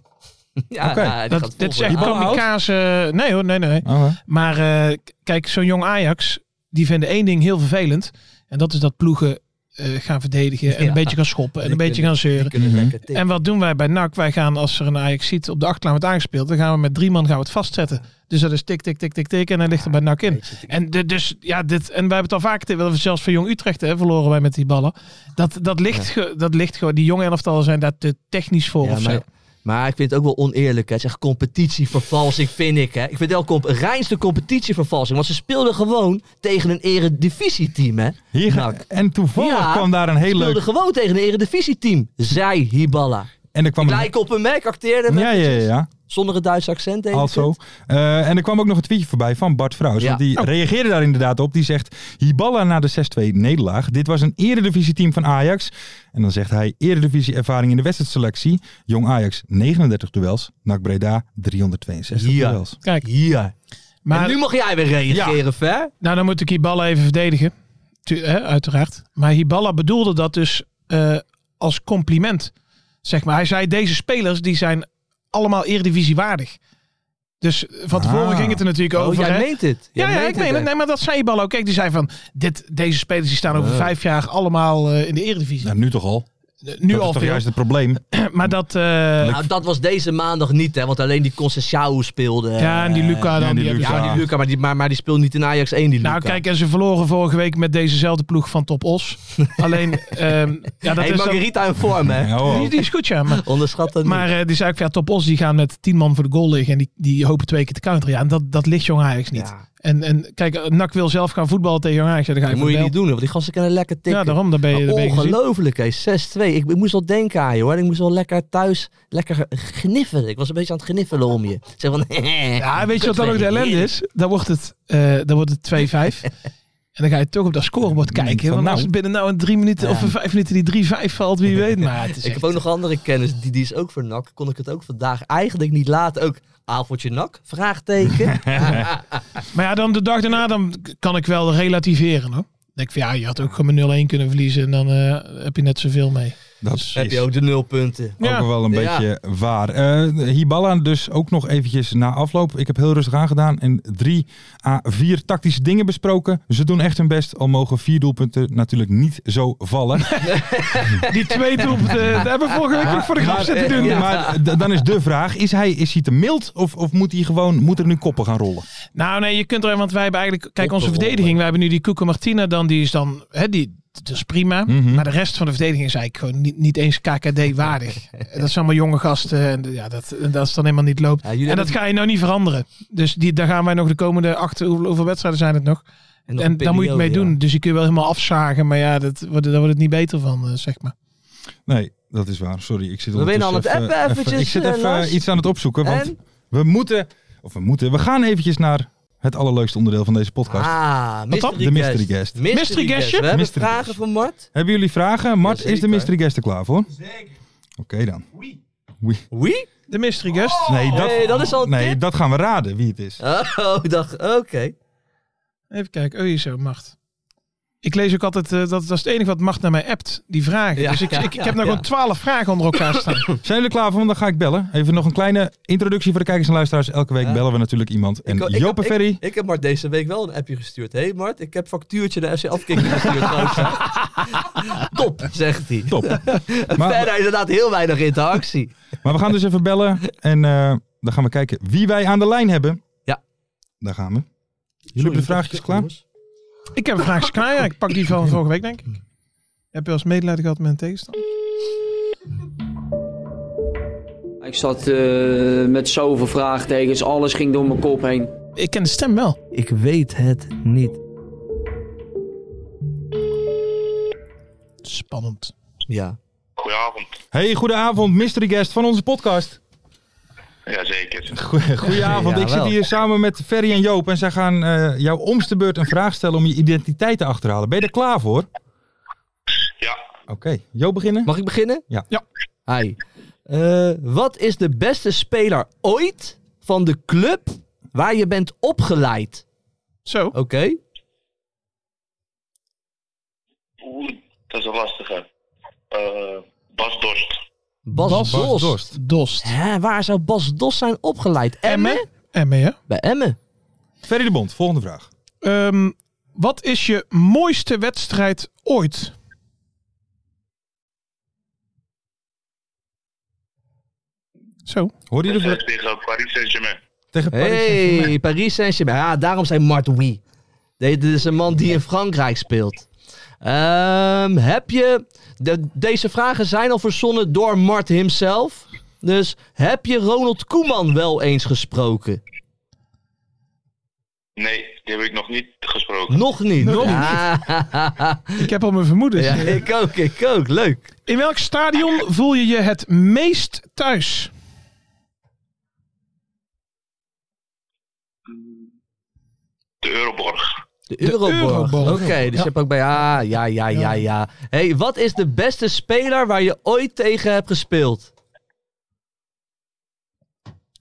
Speaker 1: Ja,
Speaker 3: Oké.
Speaker 1: ja, die
Speaker 4: Dat,
Speaker 1: gaat vol
Speaker 4: dit is
Speaker 1: voor
Speaker 4: echt
Speaker 1: de haal.
Speaker 4: kamikaze. Nee hoor, nee, nee.
Speaker 3: Oké.
Speaker 4: Maar eh, k- kijk, zo'n jong Ajax, die vinden één ding heel vervelend. En dat is dat ploegen eh, gaan verdedigen en
Speaker 1: Ja.
Speaker 4: een beetje gaan schoppen en
Speaker 1: Die
Speaker 4: een beetje
Speaker 1: kunnen-
Speaker 4: gaan
Speaker 1: Die
Speaker 4: zeuren.
Speaker 1: kunnen
Speaker 3: Mhm.
Speaker 1: lekker tikken.
Speaker 4: En wat doen wij bij NAC? Wij gaan, als er een Ajax ziet op de achterlijn wordt aangespeeld, dan gaan we met drie man gaan we het vastzetten. Dus dat is tik, tik, tik, tik, tik en dan ligt er bij NAC in.
Speaker 1: Weet je,
Speaker 4: En de- dus, ja, dit, en wij hebben het al vaker, tegen- zelfs van Jong Utrecht hè, verloren wij met die ballen. Dat, dat, ligt, ge- dat ligt gewoon, die jonge elftallen zijn daar te technisch voor
Speaker 1: Ja,
Speaker 4: of zo.
Speaker 1: maar, maar ik vind het ook wel oneerlijk. Hè. Het is echt competitievervalsing, vind ik. Hè. Ik vind het wel comp reinste competitievervalsing. Want ze speelden gewoon tegen een eredivisieteam. Hè.
Speaker 3: Hier ga-
Speaker 1: Nou,
Speaker 3: en toevallig
Speaker 1: ja,
Speaker 3: kwam daar een heel
Speaker 1: speelden
Speaker 3: leuk...
Speaker 1: gewoon tegen een eredivisieteam. Zij Hiballa.
Speaker 3: En er kwam een,
Speaker 1: Lijken op een Mac, acteerde met-
Speaker 3: ja, ja, ja, ja.
Speaker 1: zonder het Duitse accent. deed ik
Speaker 3: Also.
Speaker 1: het.
Speaker 3: Eh, en er kwam ook nog een tweetje voorbij van Bart Vrouws.
Speaker 1: Ja.
Speaker 3: Want die
Speaker 4: Oh.
Speaker 3: reageerde daar inderdaad op. Die zegt, Hiballa na de 6-2 nederlaag. Dit was een eredivisieteam van Ajax. En dan zegt hij, eredivisie ervaring in de wedstrijdselectie. Jong Ajax 39 duels. NAC Breda 362
Speaker 1: Ja.
Speaker 3: duels.
Speaker 4: Kijk,
Speaker 1: Hier.
Speaker 4: maar
Speaker 1: en nu mag jij weer reageren, Fer.
Speaker 4: Nou, dan moet ik Hiballa even verdedigen. Tu- hè, uiteraard. Maar Hiballa bedoelde dat dus eh, als compliment. Zeg maar. Hij zei, deze spelers die zijn allemaal eredivisiewaardig. Dus van tevoren
Speaker 3: Ah.
Speaker 4: ging het er natuurlijk
Speaker 1: Oh,
Speaker 4: over.
Speaker 1: jij
Speaker 4: hè.
Speaker 1: meent het. Jij
Speaker 4: ja, ja,
Speaker 1: meent
Speaker 4: ik meen
Speaker 1: hè.
Speaker 4: het. Nee, maar dat zei Hiballa ook. Kijk, die zei van, dit, deze spelers die staan over vijf jaar allemaal eh, in de eredivisie.
Speaker 3: Nou, nu toch al.
Speaker 4: Eh, nu
Speaker 3: dat is toch
Speaker 4: al veel.
Speaker 3: juist het probleem.
Speaker 4: Maar dat... eh,
Speaker 1: Nou, dat was deze maandag niet, hè. Want alleen die Concessiao speelde.
Speaker 4: ja, en die
Speaker 1: eh,
Speaker 4: Luca dan.
Speaker 3: en die
Speaker 4: die
Speaker 3: Luca.
Speaker 1: Ja, die Luca, maar die, maar, maar die speelde niet in Ajax 1, die
Speaker 4: Nou,
Speaker 1: Luca.
Speaker 4: kijk, en ze verloren vorige week met dezezelfde ploeg van Top Os. Alleen, ehm, ja, dat
Speaker 1: hey,
Speaker 4: is dan-
Speaker 1: Margarita in vorm, hè.
Speaker 3: Ja, hoor.
Speaker 4: die, die is goed, ja. Maar
Speaker 1: Onderschat dat
Speaker 4: Maar
Speaker 1: niet.
Speaker 4: eh, die zei ook, van, ja, Top Os die gaan met tien man voor de goal liggen en die, die hopen twee keer te counteren. Ja, en dat, dat ligt Jong Ajax niet.
Speaker 1: Ja.
Speaker 4: En, en kijk, eh, NAC wil zelf gaan voetballen tegen Jong Ajax. Ja, dan ga je
Speaker 1: Dat
Speaker 4: voor
Speaker 1: moet je
Speaker 4: de
Speaker 1: niet
Speaker 4: bel.
Speaker 1: doen, hè, want die gasten kunnen lekker tikken.
Speaker 4: Ja, daarom, daar ben je,
Speaker 1: Maar
Speaker 4: daar ben je gezien.
Speaker 1: Ongelooflijk, hè. 6-2. Ik, ik moest wel denken aan je, hoor. Ik moest wel lekker thuis lekker gniffelen. Ik was een beetje aan het gniffelen om je. Ik Zeg van,
Speaker 4: Ja, weet je wat dan ook de ellende is? Dan wordt het, eh, dan wordt het 2-5. en dan ga je toch op dat scorebord
Speaker 3: Dan denk
Speaker 4: kijken.
Speaker 3: ik van,
Speaker 4: Want als
Speaker 3: nou.
Speaker 4: het binnen nou een drie minuten of een vijf minuten die 3-5 valt, wie weet. Maar het is
Speaker 1: Ik heb ook nog andere kennis, die, die is ook voor NAC. Kon ik het ook vandaag eigenlijk niet laten. Ook avondje NAC? Vraagteken.
Speaker 4: Maar ja, dan de dag daarna dan kan ik wel relativeren. Hoor. Dan denk ik van, ja, je had ook gewoon 0-1 kunnen verliezen en dan eh, heb je net zoveel mee.
Speaker 3: Dat
Speaker 4: Dus-
Speaker 1: heb je ook de nulpunten.
Speaker 3: Ook wel een
Speaker 1: Ja.
Speaker 3: beetje waar. Eh, Hiballa dus ook nog eventjes na afloop. Ik heb heel rustig aangedaan en drie à vier tactische dingen besproken. Ze doen echt hun best, al mogen vier doelpunten natuurlijk niet zo vallen.
Speaker 4: Die twee doelpunten, dat hebben we vorige week ook voor de grap zitten doen.
Speaker 1: eh, Ja.
Speaker 3: Maar d- dan is de vraag, is hij, is hij te mild of, of moet hij gewoon, moet er nu koppen gaan rollen?
Speaker 4: Nou nee, je kunt er, want wij hebben eigenlijk, kijk onze
Speaker 1: Opgewonden.
Speaker 4: verdediging, wij hebben nu die Cuco Martina dan, die is dan, hè, die, dat is prima.
Speaker 3: Mhm.
Speaker 4: Maar de rest van de verdediging is eigenlijk gewoon niet, niet eens KKD waardig. dat zijn allemaal jonge gasten en ja, dat, en dat is dan helemaal niet loopt.
Speaker 1: Ja, jullie
Speaker 4: en dat
Speaker 1: hebben-
Speaker 4: ga je nou niet veranderen. Dus die, daar gaan wij nog de komende acht, hoe- hoeveel wedstrijden zijn het nog?
Speaker 1: nog
Speaker 4: en
Speaker 1: een
Speaker 4: daar moet je het mee
Speaker 1: periode,
Speaker 4: doen.
Speaker 1: ja.
Speaker 4: Dus die kun je wel helemaal afzagen, maar ja, dat, wordt- daar wordt het niet beter van, eh, zeg maar.
Speaker 3: Nee, dat is waar. Sorry, ik zit
Speaker 1: We zijn al
Speaker 3: ondertussen
Speaker 1: aan het appen eventjes,
Speaker 3: Ik zit
Speaker 1: eh,
Speaker 3: even
Speaker 1: Lars.
Speaker 3: iets aan het opzoeken, want
Speaker 1: En?
Speaker 3: we moeten, of we moeten, we gaan eventjes naar het allerleukste onderdeel van deze podcast.
Speaker 1: Ah,
Speaker 3: dan?
Speaker 1: mystery
Speaker 3: De mystery guest.
Speaker 1: Mystery,
Speaker 4: Mystery
Speaker 1: guest.
Speaker 4: guestje?
Speaker 1: We hebben
Speaker 3: Mystery
Speaker 1: vragen
Speaker 3: guest.
Speaker 1: voor Mart.
Speaker 3: Hebben jullie vragen? Mart, is de
Speaker 1: Jazeker.
Speaker 3: mystery guest er klaar voor? Zeker. Oké dan.
Speaker 1: Wie?
Speaker 4: De mystery guest.
Speaker 3: Nee, dat,
Speaker 1: Hey, dat is al een
Speaker 3: nee,
Speaker 1: tip.
Speaker 3: dat gaan we raden wie het is.
Speaker 1: Oh, dacht, oké.
Speaker 4: Even kijken. Oh, hier zo, Macht. Ik lees ook altijd, eh, dat, dat is het enige wat Macht naar mij appt. Die vragen.
Speaker 1: Ja,
Speaker 4: dus ik,
Speaker 1: ja,
Speaker 4: ik, ik
Speaker 1: ja,
Speaker 4: heb nou
Speaker 1: ja.
Speaker 4: gewoon twaalf vragen onder elkaar staan.
Speaker 3: Zijn jullie er klaar voor? Want dan ga ik bellen. Even nog een kleine introductie voor de kijkers en luisteraars. Elke week
Speaker 1: Ja.
Speaker 3: bellen we natuurlijk iemand. En
Speaker 1: Ik- ik-
Speaker 3: Joop en
Speaker 1: ik-
Speaker 3: Ferry.
Speaker 1: Ik, ik heb Mart deze week wel een appje gestuurd. Hé hey Mart, ik heb factuurtje naar FC Afkikken gestuurd. gozer. Top, zegt hij.
Speaker 3: Top. maar,
Speaker 1: Verder inderdaad heel weinig interactie.
Speaker 3: maar we gaan dus even bellen. En eh, dan gaan we kijken wie wij aan de lijn hebben.
Speaker 1: Ja.
Speaker 3: Daar gaan we. Jullie hebben de vraagjes klaar?
Speaker 4: ik heb een vraag klaar. Ja, ik pak die van vorige week, denk ik.
Speaker 1: Mm.
Speaker 4: Heb je als medelijden gehad met een tegenstander?
Speaker 5: Ik zat eh, met zoveel vraagtekens, alles ging door mijn kop heen.
Speaker 4: Ik ken de stem wel.
Speaker 1: Ik weet het niet.
Speaker 4: Spannend.
Speaker 1: Ja.
Speaker 6: Goedenavond.
Speaker 3: Hey, goedenavond, mystery guest van onze podcast.
Speaker 6: Jazeker.
Speaker 3: Goe- Goedenavond, ik zit
Speaker 1: Jawel.
Speaker 3: hier samen met Ferry en Joop. En zij gaan eh, jou omste beurt een vraag stellen om je identiteit te achterhalen. Ben je er klaar voor? Oké,
Speaker 6: Ja,
Speaker 3: Joop beginnen?
Speaker 1: Mag ik beginnen?
Speaker 3: Ja.
Speaker 4: Ja.
Speaker 1: Hi. Eh, wat is de beste speler ooit van de club waar je bent opgeleid?
Speaker 4: Zo.
Speaker 1: Oké.
Speaker 6: oeh, dat is een lastige. Eh, Bas Dorst.
Speaker 1: Bas, Dost.
Speaker 4: Dost.
Speaker 1: Hè, waar zou Bas Dost zijn opgeleid? Emmen?
Speaker 4: Emmen, hè?
Speaker 1: Bij Emmen.
Speaker 3: Ferry de Bond, volgende vraag.
Speaker 4: Ehm, wat is je mooiste wedstrijd ooit? Zo.
Speaker 3: Hoorde je de
Speaker 6: Dat
Speaker 3: vraag?
Speaker 6: is Eh, tegen Paris Saint-Germain.
Speaker 3: Tegen Paris Saint-Germain.
Speaker 1: Hey, Paris Saint-Germain. Ja, daarom zijn Martoui. Dit is een man die in Frankrijk speelt. Ehm, heb je... de- deze vragen zijn al verzonnen door Mart himself. Dus heb je Ronald Koeman wel eens gesproken?
Speaker 6: Nee, die heb ik nog niet gesproken.
Speaker 1: Nog niet.
Speaker 4: Nog
Speaker 1: Ja.
Speaker 4: Ik heb al mijn vermoedens.
Speaker 1: Ja, ik ook, ik ook. Leuk.
Speaker 4: In welk stadion voel je je het meest thuis?
Speaker 6: De Euroborg.
Speaker 1: De Euroborg.
Speaker 4: Euroborg.
Speaker 1: Oké, dus je hebt ook bij... Ja, ja, ja, ja, ja. hey, wat is de beste speler waar je ooit tegen hebt gespeeld?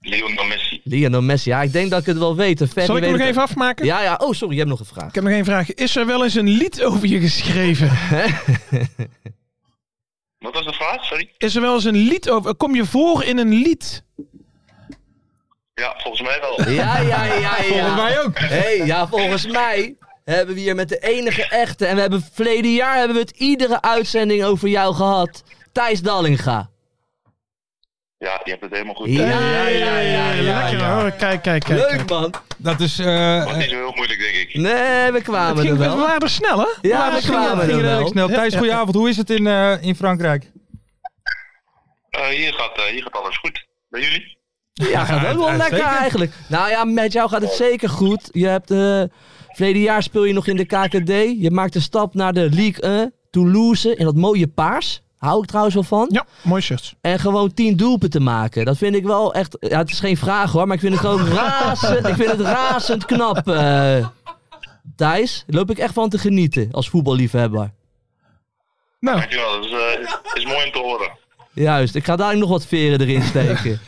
Speaker 6: Lionel Messi.
Speaker 1: Lionel Messi. Ja, ik denk dat ik het wel weet. Een fan
Speaker 4: Zal ik
Speaker 1: die
Speaker 4: hem nog
Speaker 1: weet
Speaker 4: even
Speaker 1: het-
Speaker 4: afmaken?
Speaker 1: Ja, ja. Oh, sorry, je hebt nog een vraag.
Speaker 4: Ik heb nog één vraag. Is er wel eens een lied over je geschreven?
Speaker 6: Wat was de vraag? Sorry.
Speaker 4: Is er wel eens een lied over? Kom je voor in een lied?
Speaker 6: Ja, volgens mij wel.
Speaker 1: Ja, ja, ja, ja.
Speaker 3: Volgens mij ook.
Speaker 1: hey, ja, volgens mij hebben we hier met de enige echte... En we hebben verleden jaar hebben we het iedere uitzending over jou gehad. Thijs Dallinga.
Speaker 6: Ja, je hebt het helemaal goed.
Speaker 1: Ja, ja, ja, ja.
Speaker 4: Lekker hoor. Kijk, kijk, kijk.
Speaker 1: Leuk, man.
Speaker 3: Dat is... eh,
Speaker 6: Dat is niet zo heel moeilijk, denk ik.
Speaker 1: Nee, we
Speaker 4: Het
Speaker 1: kwamen
Speaker 4: ging,
Speaker 1: er
Speaker 4: we
Speaker 1: wel.
Speaker 4: waren er snel, hè? We
Speaker 1: Ja,
Speaker 4: waren
Speaker 1: we
Speaker 4: er snel.
Speaker 1: kwamen
Speaker 3: ging
Speaker 1: er
Speaker 3: redelijk
Speaker 1: wel.
Speaker 3: snel. Thijs, goedenavond. Hoe is het in, eh, in Frankrijk?
Speaker 6: Eh, hier, gaat, eh, hier gaat alles goed. Bij jullie?
Speaker 1: Ja, gaat ook wel lekker
Speaker 3: uitstekend.
Speaker 1: eigenlijk. Nou ja, met jou gaat het zeker goed. Je hebt, eh verleden jaar speel je nog in de KKD. Je maakt een stap naar de League 1, Toulouse, in dat mooie paars. Hou ik trouwens wel van.
Speaker 4: Ja, mooi shirt.
Speaker 1: En gewoon 10 doelpunten maken. Dat vind ik wel echt... Ja, het is geen vraag hoor, maar ik vind het gewoon razend, ik vind het razend knap. eh. Thijs, daar loop ik echt van te genieten als voetballiefhebber.
Speaker 4: Nou,
Speaker 6: Dankjewel, dat is, eh, is mooi om te horen.
Speaker 1: Juist, ik ga daar nog wat veren erin steken.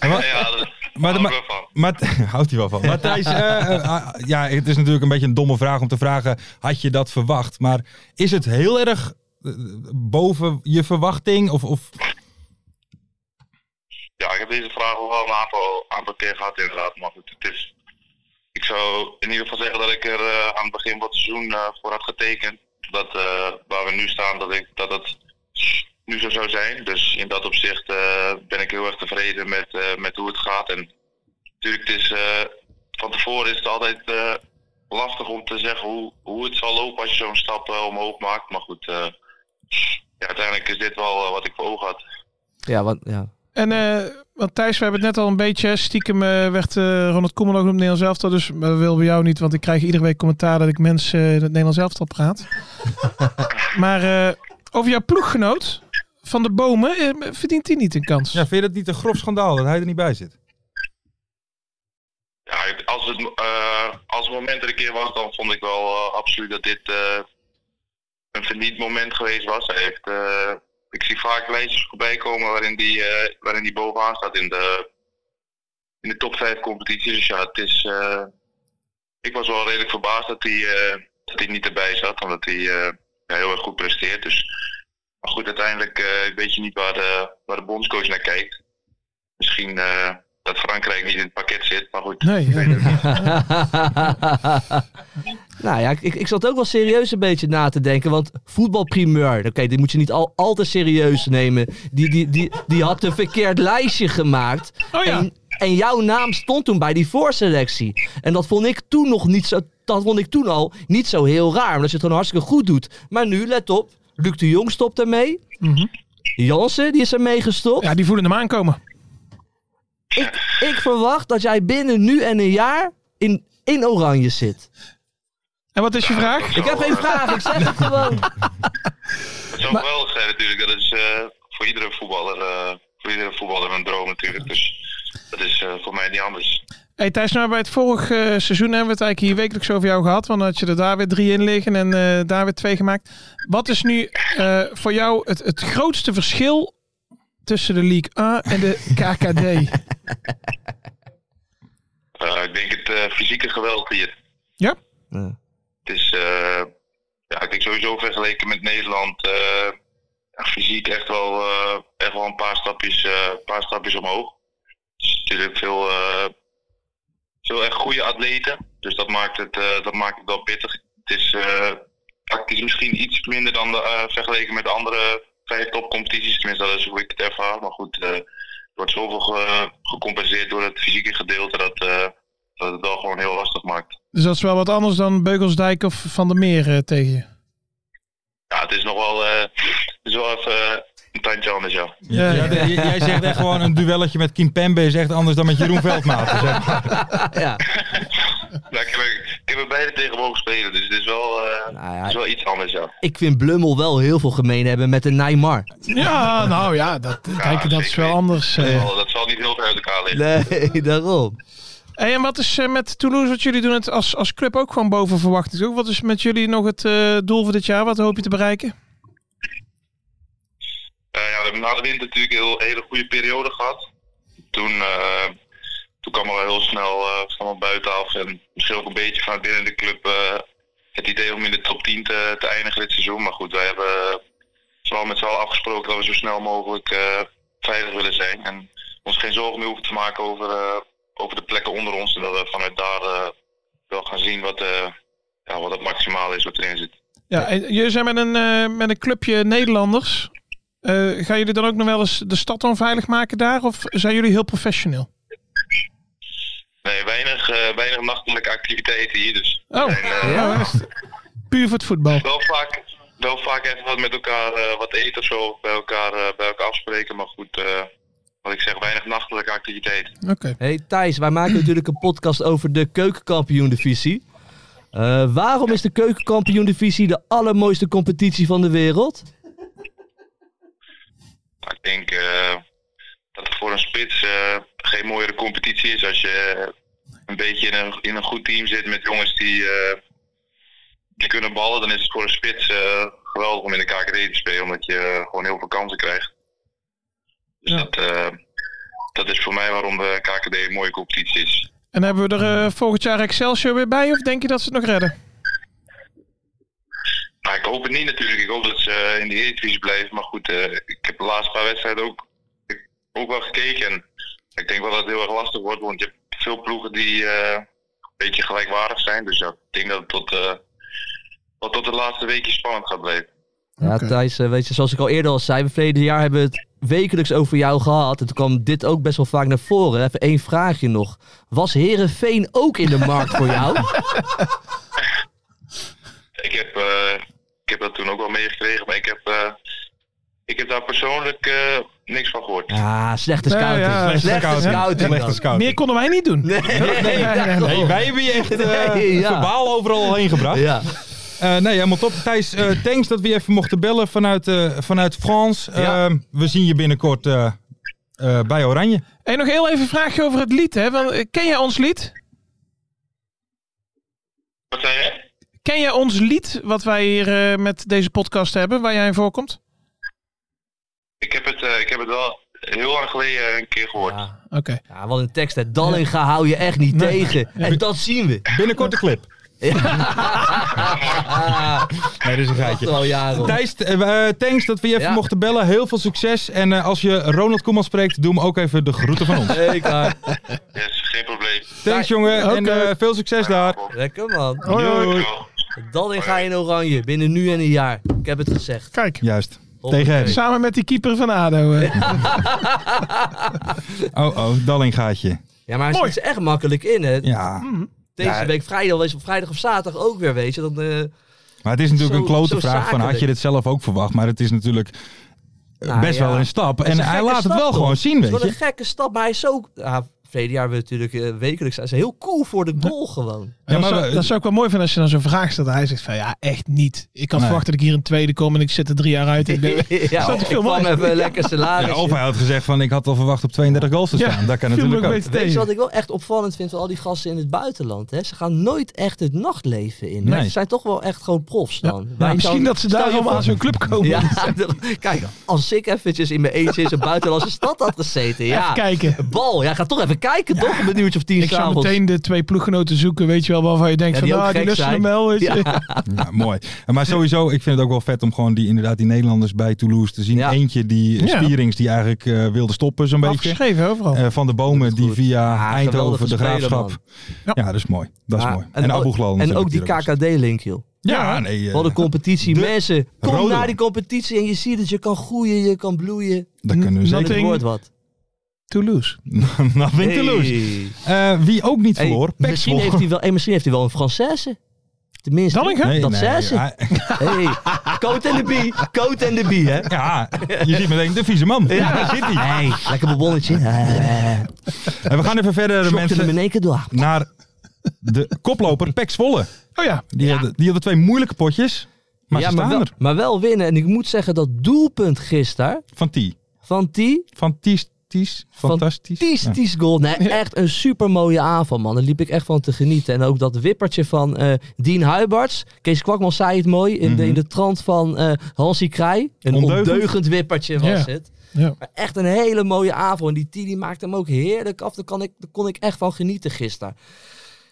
Speaker 6: Ja, dat is
Speaker 3: Maar de-
Speaker 6: maar, wel van.
Speaker 3: Maar houdt hij wel van. Maar Thijs, eh, eh, ah, ja, het is natuurlijk een beetje een domme vraag om te vragen. Had je dat verwacht? Maar is het heel erg eh, boven je verwachting? Of, of
Speaker 6: Ja, ik heb deze vraag al wel een aantal, aantal keer gehad inderdaad. Maar goed, het is... Ik zou in ieder geval zeggen dat ik er eh, aan het begin van het seizoen eh, voor had getekend. Dat eh, waar we nu staan, dat, ik, dat het nu zo zou zijn. Dus in dat opzicht eh, ben ik heel erg tevreden met, eh, met hoe het gaat. En natuurlijk, het is, eh, van tevoren is het altijd eh, lastig om te zeggen hoe, hoe het zal lopen als je zo'n stap eh, omhoog maakt. Maar goed, eh, ja, uiteindelijk is dit wel eh, wat ik voor ogen had.
Speaker 1: Ja, want... Ja.
Speaker 4: en eh, want Thijs, we hebben het net al een beetje. Stiekem eh, werd eh, Ronald Koeman ook genoemd in het Nederlands elftal. Dus eh, dat wil bij jou niet, want ik krijg iedere week commentaar dat ik mensen eh, in het Nederlands elftal praat. maar eh, over jouw ploeggenoot van de bomen, eh, verdient hij niet een kans?
Speaker 3: ja, vind je dat niet een grof schandaal dat hij er niet bij zit?
Speaker 6: Ja, het- als het, eh, als het moment er een keer was, dan vond ik wel eh, absoluut dat dit eh, een verniet moment geweest was. Hij heeft, eh, ik zie vaak lijstjes voorbij komen waarin die, eh, waarin die bovenaan staat in de, in de top 5 competities. Dus ja, het is, eh, ik was wel redelijk verbaasd dat hij, eh, dat hij niet erbij zat, omdat hij eh, ja, heel erg goed presteert. Dus, maar goed, uiteindelijk eh, weet je niet waar de, waar de bondscoach naar kijkt. Misschien eh, dat Frankrijk niet in het pakket zit, maar goed.
Speaker 4: Nee, ja.
Speaker 1: nou ja, ik, ik zat ook wel serieus een beetje na te denken. Want voetbalprimeur, oké, dit moet je niet al, al te serieus nemen. Die, die, die, die had een verkeerd lijstje gemaakt.
Speaker 4: Oh ja.
Speaker 1: en, en jouw naam stond toen bij die voorselectie. En dat vond ik toen nog niet zo. Dat vond ik toen al niet zo heel raar. Omdat je het gewoon hartstikke goed doet. Maar nu, let op. Luc de Jong stopt ermee. Jansen, die is ermee gestopt.
Speaker 4: Mhm. ja, die voelen hem aankomen.
Speaker 1: Ik, ik verwacht dat jij binnen nu en een jaar in, in oranje zit.
Speaker 4: En wat is je vraag?
Speaker 1: Ik heb geen vraag, ik zeg het gewoon.
Speaker 6: Het Eh, zou geweldig zijn natuurlijk. Dat is eh, voor iedere voetballer, eh, voor iedere voetballer een droom natuurlijk. Dus dat is eh, voor mij niet anders.
Speaker 4: Hey Thijs, nou bij het vorige eh, seizoen hebben we het eigenlijk hier wekelijks over jou gehad. Want dan had je er daar weer drie in liggen en eh, daar weer twee gemaakt. Wat is nu eh, voor jou het, het grootste verschil tussen de League A en de KKD?
Speaker 6: Eh, ik denk het eh, fysieke geweld hier.
Speaker 4: Ja?
Speaker 1: Ja.
Speaker 6: Het is, eh, ja, ik denk sowieso vergeleken met Nederland, eh, ja, fysiek echt wel, eh, echt wel een paar stapjes, eh, een paar stapjes omhoog. Dus Het is natuurlijk veel, eh, veel echt goede atleten. Dus dat maakt het, eh, dat maakt het wel pittig. Het is eh, tactisch misschien iets minder dan de, eh, vergeleken met de andere vijf topcompetities. Tenminste, dat is hoe ik het ervaar. Maar goed, eh, er wordt zoveel ge- gecompenseerd door het fysieke gedeelte dat, eh, dat het wel gewoon heel lastig maakt.
Speaker 4: Dus dat is wel wat anders dan Beugelsdijk of Van der Meer eh, tegen je.
Speaker 6: Ja, het is nog wel, eh, het is wel even eh, een tandje anders, ja.
Speaker 3: Ja,
Speaker 4: ja.
Speaker 3: d- j- Jij zegt echt gewoon een duelletje met Kim Pembe is echt anders dan met Jeroen Dus, eh, Veldmaten. Zeg. maar.
Speaker 1: Ja.
Speaker 6: Nou, ik, heb er, ik heb er beide tegen mogen spelen, dus het is wel, eh,
Speaker 1: Nou ja,
Speaker 6: het is wel iets anders, ja.
Speaker 1: Ik vind Blummel wel heel veel gemeen hebben met een Neymar.
Speaker 4: Ja, nou ja, dat, kijk, dat is wel anders. eh.
Speaker 6: Dat zal- dat zal niet heel ver uit elkaar liggen.
Speaker 1: Nee, daarom.
Speaker 4: Hey, en wat is eh, met Toulouse, wat jullie doen het als, als club ook gewoon boven verwachting? toch? Wat is met jullie nog het eh, doel voor dit jaar? Wat hoop je te bereiken?
Speaker 6: Eh, ja, we hebben na de winter natuurlijk een heel- hele goede periode gehad. Toen, eh, toen kwam er wel heel snel eh, van het buitenaf en misschien ook een beetje van binnen de club eh, het idee om in de top 10 te, te eindigen dit seizoen. Maar goed, wij hebben eh, vooral met z'n allen afgesproken dat we zo snel mogelijk eh, veilig willen zijn. En ons geen zorgen meer hoeven te maken over, eh, over de plekken onder ons. En dat we vanuit daar eh, wel gaan zien wat, eh, ja, wat het maximaal is wat erin zit.
Speaker 4: Ja, en jullie zijn met een, eh, met een clubje Nederlanders. Eh, gaan jullie dan ook nog wel eens de stad onveilig maken daar? Of zijn jullie heel professioneel?
Speaker 6: Nee, weinig, eh, weinig nachtelijke activiteiten hier. Dus
Speaker 4: Oh, ja, dat is puur voor het voetbal.
Speaker 6: wel vaak, wel vaak even wat met elkaar eh, wat eten of zo, bij elkaar, eh, bij elkaar afspreken. Maar goed, eh, wat ik zeg, weinig nachtelijke activiteit.
Speaker 4: Oké.
Speaker 1: Hey Thijs, wij maken natuurlijk een podcast over de keukenkampioen-divisie. Eh, waarom is de keukenkampioen-divisie de allermooiste competitie van de wereld?
Speaker 6: Maar ik denk eh, dat er voor een spits eh, geen mooiere competitie is als je eh, een beetje in een, in een goed team zit met jongens die, eh, die kunnen ballen. Dan is het voor een spits eh, geweldig om in de KKD te spelen, omdat je eh, gewoon heel veel kansen krijgt. Dus
Speaker 4: Ja.
Speaker 6: dat, eh, dat is voor mij waarom de KKD een mooie competitie is.
Speaker 4: En hebben we er eh, volgend jaar Excelsior weer bij? Of denk je dat ze het nog redden?
Speaker 6: Nou, ik hoop het niet natuurlijk. Ik hoop dat ze eh, in de Eredivisie blijven. Maar goed, eh, ik heb de laatste paar wedstrijden ook, ik- ook wel gekeken. En ik denk wel dat het heel erg lastig wordt. Want je hebt veel ploegen die eh, een beetje gelijkwaardig zijn. Dus ja, ik denk dat het tot, eh, wel tot de laatste weekje spannend gaat blijven.
Speaker 1: Ja, Thijs, eh, weet je, zoals ik al eerder al zei, we verleden jaar hebben we het wekelijks over jou gehad. En toen kwam dit ook best wel vaak naar voren. Even één vraagje nog. Was Herenveen ook in de markt voor jou?
Speaker 6: Ik heb, eh, ik heb dat toen ook wel meegekregen. Maar ik heb, eh, ik heb daar persoonlijk eh, niks van gehoord.
Speaker 1: Ja, slechte
Speaker 4: Nou
Speaker 1: scouting.
Speaker 4: ja,
Speaker 1: slechte,
Speaker 3: Scouting.
Speaker 1: scouting.
Speaker 3: Slechte scouting.
Speaker 4: Meer konden wij niet doen.
Speaker 1: Nee, nee, daarom.
Speaker 3: Nee, wij hebben je echt eh
Speaker 1: Nee, ja.
Speaker 3: verbaal overal heen gebracht.
Speaker 1: Ja.
Speaker 3: Eh, nee, helemaal top. Thijs, eh, thanks dat we je even mochten bellen vanuit, eh, vanuit Frans.
Speaker 1: Ja.
Speaker 3: Eh, we zien je binnenkort eh, eh, bij Oranje.
Speaker 4: En nog heel even een vraagje over het lied. Hè? Want, eh, ken jij ons lied?
Speaker 6: Wat zei je?
Speaker 4: Ken jij ons lied wat wij hier eh, met deze podcast hebben, waar jij in voorkomt?
Speaker 6: Ik heb het, eh, ik heb het wel heel lang geleden een keer gehoord.
Speaker 1: Ja.
Speaker 4: Oké.
Speaker 1: Ja, wat een tekst. Hè. Dallinga hou je echt niet tegen. En dat zien we.
Speaker 3: Binnenkort de clip.
Speaker 1: Ah,
Speaker 3: Nee, dit is een
Speaker 1: wacht
Speaker 3: geitje.
Speaker 1: al jaren. op.
Speaker 3: Thijs, eh, eh, thanks dat we je even
Speaker 1: Ja.
Speaker 3: mochten bellen. Heel veel succes. En eh, als je Ronald Koeman spreekt, doe hem ook even de groeten van ons.
Speaker 1: Eh, Zeker.
Speaker 6: Yes, geen probleem.
Speaker 3: Thanks jongen en
Speaker 4: Oké.
Speaker 3: eh, veel succes daar.
Speaker 1: Lekker man.
Speaker 4: Hoi, hoi.
Speaker 6: Dankjewel.
Speaker 1: Dallinga in oranje. Binnen nu en een jaar. Ik heb het gezegd.
Speaker 4: Kijk,
Speaker 3: Juist.
Speaker 1: Hoppakee.
Speaker 3: Tegen hem.
Speaker 4: samen met die keeper van ADO. eh.
Speaker 3: Oh oh, Dallingaatje.
Speaker 1: Ja, maar hij
Speaker 4: Mooi.
Speaker 1: zit er echt makkelijk in. Hè.
Speaker 3: Ja,
Speaker 1: Deze
Speaker 3: Ja.
Speaker 1: week vrijdag, wees op vrijdag of zaterdag ook weer, weet je. Dan, eh,
Speaker 3: maar het is natuurlijk
Speaker 1: Zo-
Speaker 3: een klote
Speaker 1: zo
Speaker 3: vraag van had je
Speaker 1: zakelijk.
Speaker 3: dit zelf ook verwacht. Maar het is natuurlijk eh,
Speaker 1: Nou,
Speaker 3: best
Speaker 1: ja.
Speaker 3: wel een stap.
Speaker 1: is
Speaker 3: En
Speaker 1: een
Speaker 3: hij
Speaker 1: gekke
Speaker 3: laat het
Speaker 1: stap,
Speaker 3: wel
Speaker 1: toch?
Speaker 3: gewoon zien,
Speaker 1: Het is
Speaker 3: weet
Speaker 1: wel een
Speaker 3: je.
Speaker 1: gekke stap, maar hij is ook... Ja, verleden jaar hebben we natuurlijk eh, wekelijks... Hij is heel cool voor de goal gewoon.
Speaker 3: Ja,
Speaker 4: dat,
Speaker 3: maar
Speaker 4: zou,
Speaker 3: we-
Speaker 4: dat zou ik wel mooi vinden als je dan zo'n vraag stelt. en Hij zegt van ja, echt niet. Ik had
Speaker 3: Nee.
Speaker 4: verwacht dat ik hier een tweede kom en ik zit er drie jaar uit. Ik ben...
Speaker 1: ja,
Speaker 4: Zou
Speaker 1: ik
Speaker 4: het veel
Speaker 1: kwam
Speaker 4: mooier-
Speaker 1: even een lekker salaris.
Speaker 3: Ja, of hij had gezegd van ik had al verwacht op 32 goals te
Speaker 4: Ja,
Speaker 3: staan. dat kan
Speaker 4: viel me
Speaker 3: natuurlijk
Speaker 4: ook
Speaker 3: ook.
Speaker 4: een beetje
Speaker 1: Weet je
Speaker 4: tegen.
Speaker 1: wat ik wel echt opvallend vind van al die gasten in het buitenland? Hè? Ze gaan nooit echt het nachtleven in.
Speaker 3: Nee.
Speaker 1: Ze zijn toch wel echt gewoon profs
Speaker 4: Ja.
Speaker 1: dan.
Speaker 4: Ja,
Speaker 1: Wij
Speaker 4: misschien
Speaker 1: zouden-
Speaker 4: dat ze daarom aan zo'n club komen.
Speaker 1: Ja, kijk, als ik eventjes in mijn eentje in zo'n buitenlandse stad had gezeten, ja.
Speaker 4: Even kijken.
Speaker 1: Bal, ja, ga toch even kijken toch? Om een uurtje of tien
Speaker 4: Ik zou
Speaker 1: s'avonds.
Speaker 4: meteen de twee ploeggenoten zoeken, weet je wel, waarvan je denkt
Speaker 1: Ja, die
Speaker 4: van,
Speaker 1: ook
Speaker 4: ah, die
Speaker 1: gek
Speaker 4: lusten
Speaker 1: zijn.
Speaker 4: hem wel. Weet je.
Speaker 3: Ja, Nou, mooi. Maar sowieso, ik vind het ook wel vet om gewoon die, inderdaad die Nederlanders bij Toulouse te zien.
Speaker 1: Ja.
Speaker 3: Eentje, die eh,
Speaker 4: Ja.
Speaker 3: Spierings, die eigenlijk eh, wilde stoppen zo'n beetje.
Speaker 4: Afgeschreven overal.
Speaker 3: Eh, van de bomen die
Speaker 1: goed.
Speaker 3: via
Speaker 1: Ja,
Speaker 3: Eindhoven,
Speaker 1: geweldige
Speaker 3: de
Speaker 1: speler,
Speaker 3: Graafschap. ja. dat is mooi. Dat is
Speaker 1: Ja,
Speaker 3: mooi. En, en
Speaker 1: ook-
Speaker 3: Abu
Speaker 1: En
Speaker 3: Ghlal natuurlijk
Speaker 1: ook die
Speaker 3: die er was.
Speaker 1: KKD-link, joh.
Speaker 3: Ja, nee. eh,
Speaker 1: Wat een competitie.
Speaker 3: de
Speaker 1: Mensen, kom
Speaker 3: rode
Speaker 1: naar
Speaker 3: man.
Speaker 1: die competitie en je ziet dat je kan groeien, je kan bloeien.
Speaker 3: dat kunnen we
Speaker 1: Dat
Speaker 3: zeker.
Speaker 4: Nothing-
Speaker 1: wordt wat.
Speaker 4: Toulouse.
Speaker 3: Nothing
Speaker 1: Hey.
Speaker 3: Toulouse. Eh, wie ook niet
Speaker 1: Hey,
Speaker 3: verloor, Pek
Speaker 1: misschien, heeft hij wel, hey, misschien heeft hij wel een Française. Tenminste.
Speaker 4: Dallinga?
Speaker 1: dat zei ze.
Speaker 3: ja,
Speaker 1: Hey, coat en de bie. Coat en de bie, hè.
Speaker 3: ja, je ziet meteen de vieze man. Ja, daar zit hij.
Speaker 1: Hey, lekker bonnetje.
Speaker 3: En we gaan even verder,
Speaker 1: Schokte de
Speaker 3: mensen,
Speaker 1: beneken door.
Speaker 3: naar de koploper Pek Zwolle.
Speaker 4: Oh ja,
Speaker 3: Die, hadden, die hadden twee moeilijke potjes, maar ze
Speaker 1: maar
Speaker 3: staan
Speaker 1: wel,
Speaker 3: er.
Speaker 1: maar wel winnen. En ik moet zeggen dat doelpunt gisteren
Speaker 3: Van T.
Speaker 1: van die
Speaker 3: Fantastisch. Fantastisch. Ja.
Speaker 1: fantastisch goal. Nee, echt een super mooie avond, man. Daar liep ik echt van te genieten. En ook dat wippertje van eh Dien Huiberts. Kees Kwakman zei het mooi in, de,
Speaker 4: Mhm.
Speaker 1: in de trant van eh Hansi Krij. Een
Speaker 3: Ondeugend.
Speaker 1: ondeugend, wippertje was
Speaker 4: Ja.
Speaker 1: het.
Speaker 4: Ja.
Speaker 1: Maar echt een hele mooie avond. En die Tini maakte hem ook heerlijk af. Daar, kan ik, daar kon ik echt van genieten gisteren.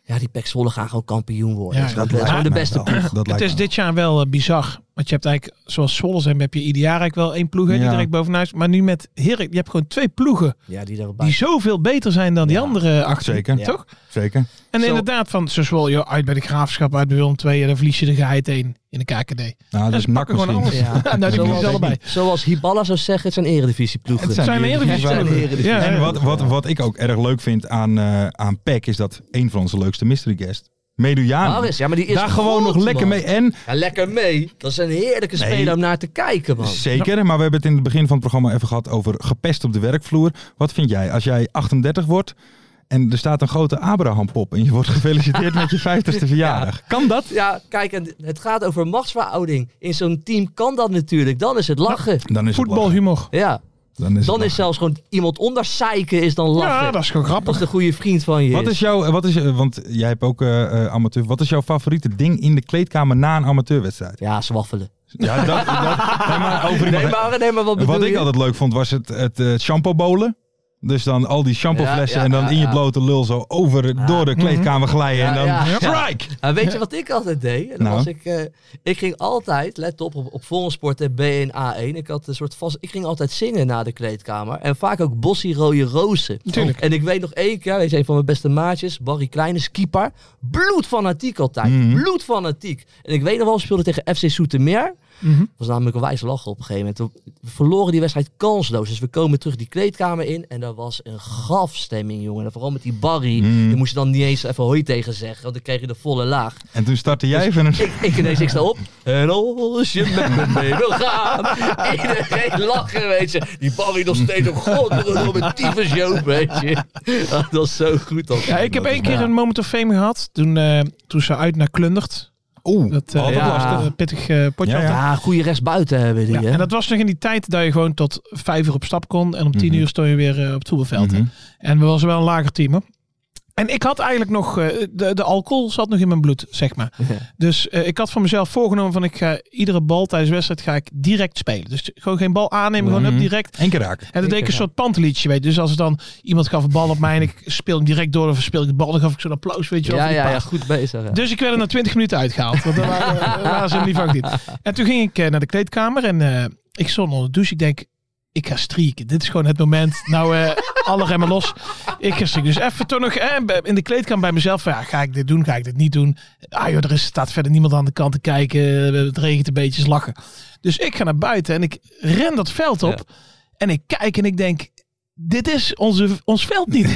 Speaker 1: Ja, die Pek Zwolle gaan gewoon kampioen worden.
Speaker 4: Ja,
Speaker 1: Ze
Speaker 4: dat
Speaker 1: zijn
Speaker 4: lijkt
Speaker 1: gewoon de
Speaker 3: mij
Speaker 1: beste
Speaker 3: wel.
Speaker 1: ploeg.
Speaker 3: Dat
Speaker 4: het
Speaker 3: lijkt
Speaker 4: is
Speaker 3: me
Speaker 4: dit jaar wel eh, bizar. Want je hebt eigenlijk, zoals Zwolle zijn, heb je ieder jaar eigenlijk wel één ploeg hè, die
Speaker 3: Ja.
Speaker 4: direct bovenuit is. Maar nu met Heerlijk, je hebt gewoon twee ploegen
Speaker 1: Ja, die
Speaker 4: die
Speaker 1: daarbij.
Speaker 4: zoveel beter zijn dan die
Speaker 1: Ja.
Speaker 4: andere acht.
Speaker 3: Zeker.
Speaker 1: Ja.
Speaker 4: Toch?
Speaker 3: wel. Zeker.
Speaker 4: En
Speaker 1: Zo-
Speaker 4: inderdaad, van zo Zwolle, joh, uit bij de Graafschap, uit bij Willem II, en dan verlies je de geheid heen in de KKD.
Speaker 3: Nou, dat
Speaker 4: Ja,
Speaker 3: is
Speaker 4: ze pakken
Speaker 3: makkelijk.
Speaker 4: gewoon
Speaker 1: Ja.
Speaker 4: alles. nou, die verliezen
Speaker 1: Zoals-
Speaker 4: ze allebei.
Speaker 1: Zoals Hiballa zou zeggen, het zijn eredivisieploegen.
Speaker 3: Het
Speaker 4: zijn
Speaker 3: die-
Speaker 4: Eredivisie-
Speaker 3: die waren-
Speaker 1: Het zijn Eredivisie-
Speaker 4: Ja,
Speaker 3: En
Speaker 4: ja.
Speaker 3: wat, wat, wat ik ook erg leuk vind aan, eh aan Peck is dat een van onze leukste mystery guests, Medujan,
Speaker 1: Maris, ja, maar die is
Speaker 3: daar gewoon
Speaker 1: goed,
Speaker 3: nog lekker
Speaker 1: man.
Speaker 3: mee. En
Speaker 1: Ja, lekker mee. Dat is een heerlijke
Speaker 3: Nee.
Speaker 1: speler om naar te kijken,
Speaker 3: Oh.
Speaker 1: man.
Speaker 3: zeker, maar we hebben het in het begin van het programma even gehad over gepest op de werkvloer. Wat vind jij als jij 38 wordt en er staat een grote Abraham-pop en je wordt gefeliciteerd met je 50ste verjaardag? Kan dat?
Speaker 1: Ja, kijk, en het gaat over machtsverhouding. In zo'n team kan dat natuurlijk. Dan is het lachen.
Speaker 3: Dan is het
Speaker 4: Voetbalhumor.
Speaker 1: Ja.
Speaker 3: lachen. Dan is,
Speaker 1: Dan
Speaker 3: het
Speaker 1: is zelfs gewoon iemand onder zeiken is dan lachen.
Speaker 4: Ja, dat is gewoon grappig.
Speaker 1: Als de goede vriend van je
Speaker 3: lachen. Wat
Speaker 1: is.
Speaker 3: is jouw, wat is, eh, want jij hebt ook eh, eh, amateur, wat is jouw favoriete ding in de kleedkamer na een amateurwedstrijd?
Speaker 1: Ja, zwaffelen.
Speaker 3: Ja, dat, dat, nee, maar over iemand-
Speaker 1: Nee, maar, nee, maar wat bedoel
Speaker 3: Wat ik
Speaker 1: je?
Speaker 3: altijd leuk vond was het, het eh, shampoo bolen. Dus dan al die shampoo flessen
Speaker 1: Ja, ja,
Speaker 3: en dan
Speaker 1: ja,
Speaker 3: in je
Speaker 1: ja.
Speaker 3: blote lul zo over door de kleedkamer glijden. en
Speaker 1: Ja,
Speaker 3: dan
Speaker 1: ja.
Speaker 3: strike!
Speaker 1: Ja, Ah, weet je wat ik altijd deed? En dan
Speaker 3: Nou.
Speaker 1: was ik, eh, ik ging altijd, let op, op, op Volgensport en B1, A1. Ik, had een soort vast, ik ging altijd zingen na de kleedkamer. En vaak ook Bossie Rode Rozen.
Speaker 4: Tuurlijk.
Speaker 1: En ik weet nog één keer, hij is een van mijn beste maatjes, Barry Kleine, is keeper. Bloedfanatiek altijd. Bloedfanatiek. En ik weet nog wel, we speelden tegen FC Soetermeer. was namelijk een wijze lachen op een gegeven moment. We verloren die wedstrijd kansloos. Dus we komen terug die kleedkamer in. En er was een gafstemming, jongen. En vooral met die Barry. Daar moest je dan niet eens even hoi tegen zeggen. Want dan kreeg je de volle laag.
Speaker 3: En toen startte jij even een...
Speaker 1: Ik, ik ineens, ik sta op. En als je met me mee wil gaan. Iedereen lachen, weet je. Die Barry nog steeds op god. Nog een tyfus joop, weet je. Ah, Dat is zo goed. Dat
Speaker 4: Ja, ik heb één keer
Speaker 1: Ja.
Speaker 4: een moment of fame gehad. Toen, eh, toen ze uit naar Klundert.
Speaker 3: Oeh,
Speaker 4: Dat eh,
Speaker 3: altijd
Speaker 1: ja.
Speaker 3: lastig.
Speaker 4: eh, pittig eh, potje.
Speaker 3: Ja,
Speaker 4: had.
Speaker 3: ja.
Speaker 1: Ja, goede rechtsbuiten hebben die,
Speaker 4: Ja,
Speaker 1: hè.
Speaker 4: en dat was nog in die tijd dat je gewoon tot vijf uur op stap kon. En om tien
Speaker 3: Mhm.
Speaker 4: uur stond je weer eh, op het voetbalveld.
Speaker 3: Mhm.
Speaker 4: En we was wel een lager team. hoor. En ik had eigenlijk nog, eh, de, de alcohol zat nog in mijn bloed, zeg maar.
Speaker 1: Ja.
Speaker 4: Dus eh, ik had voor mezelf voorgenomen van ik ga iedere bal tijdens de wedstrijd ga ik direct spelen. Dus gewoon geen bal aannemen, gewoon
Speaker 3: Mhm.
Speaker 4: up direct.
Speaker 3: Eén keer raken.
Speaker 4: En dat deed ik een soort panteliedje, weet je. Dus als er dan iemand gaf een bal op mij en ik speel hem direct door of speel ik de bal, dan gaf ik zo'n applaus, weet je wel.
Speaker 1: Ja,
Speaker 4: voor die
Speaker 1: ja,
Speaker 4: paas.
Speaker 1: ja, goed bezig. Ja.
Speaker 4: Dus ik werd er na 20 minuten uitgehaald. Want dan waren, waren ze niet van niet. En toen ging ik eh, naar de kleedkamer en eh, ik stond onder de douche. Ik denk, ik ga streaken. Dit is gewoon het moment. Nou, eh, alle remmen los. Ik ga streaken. Dus even toch nog eh, bij- in de kleedkamer bij mezelf. van, Ja, ga ik dit doen? Ga ik dit niet doen? Ah joh, er is, staat verder niemand aan de kant te kijken. Het regent een beetje, is lachen. Dus ik ga naar buiten en ik ren dat veld op. En ik kijk en ik denk... Dit is onze, ons veld niet.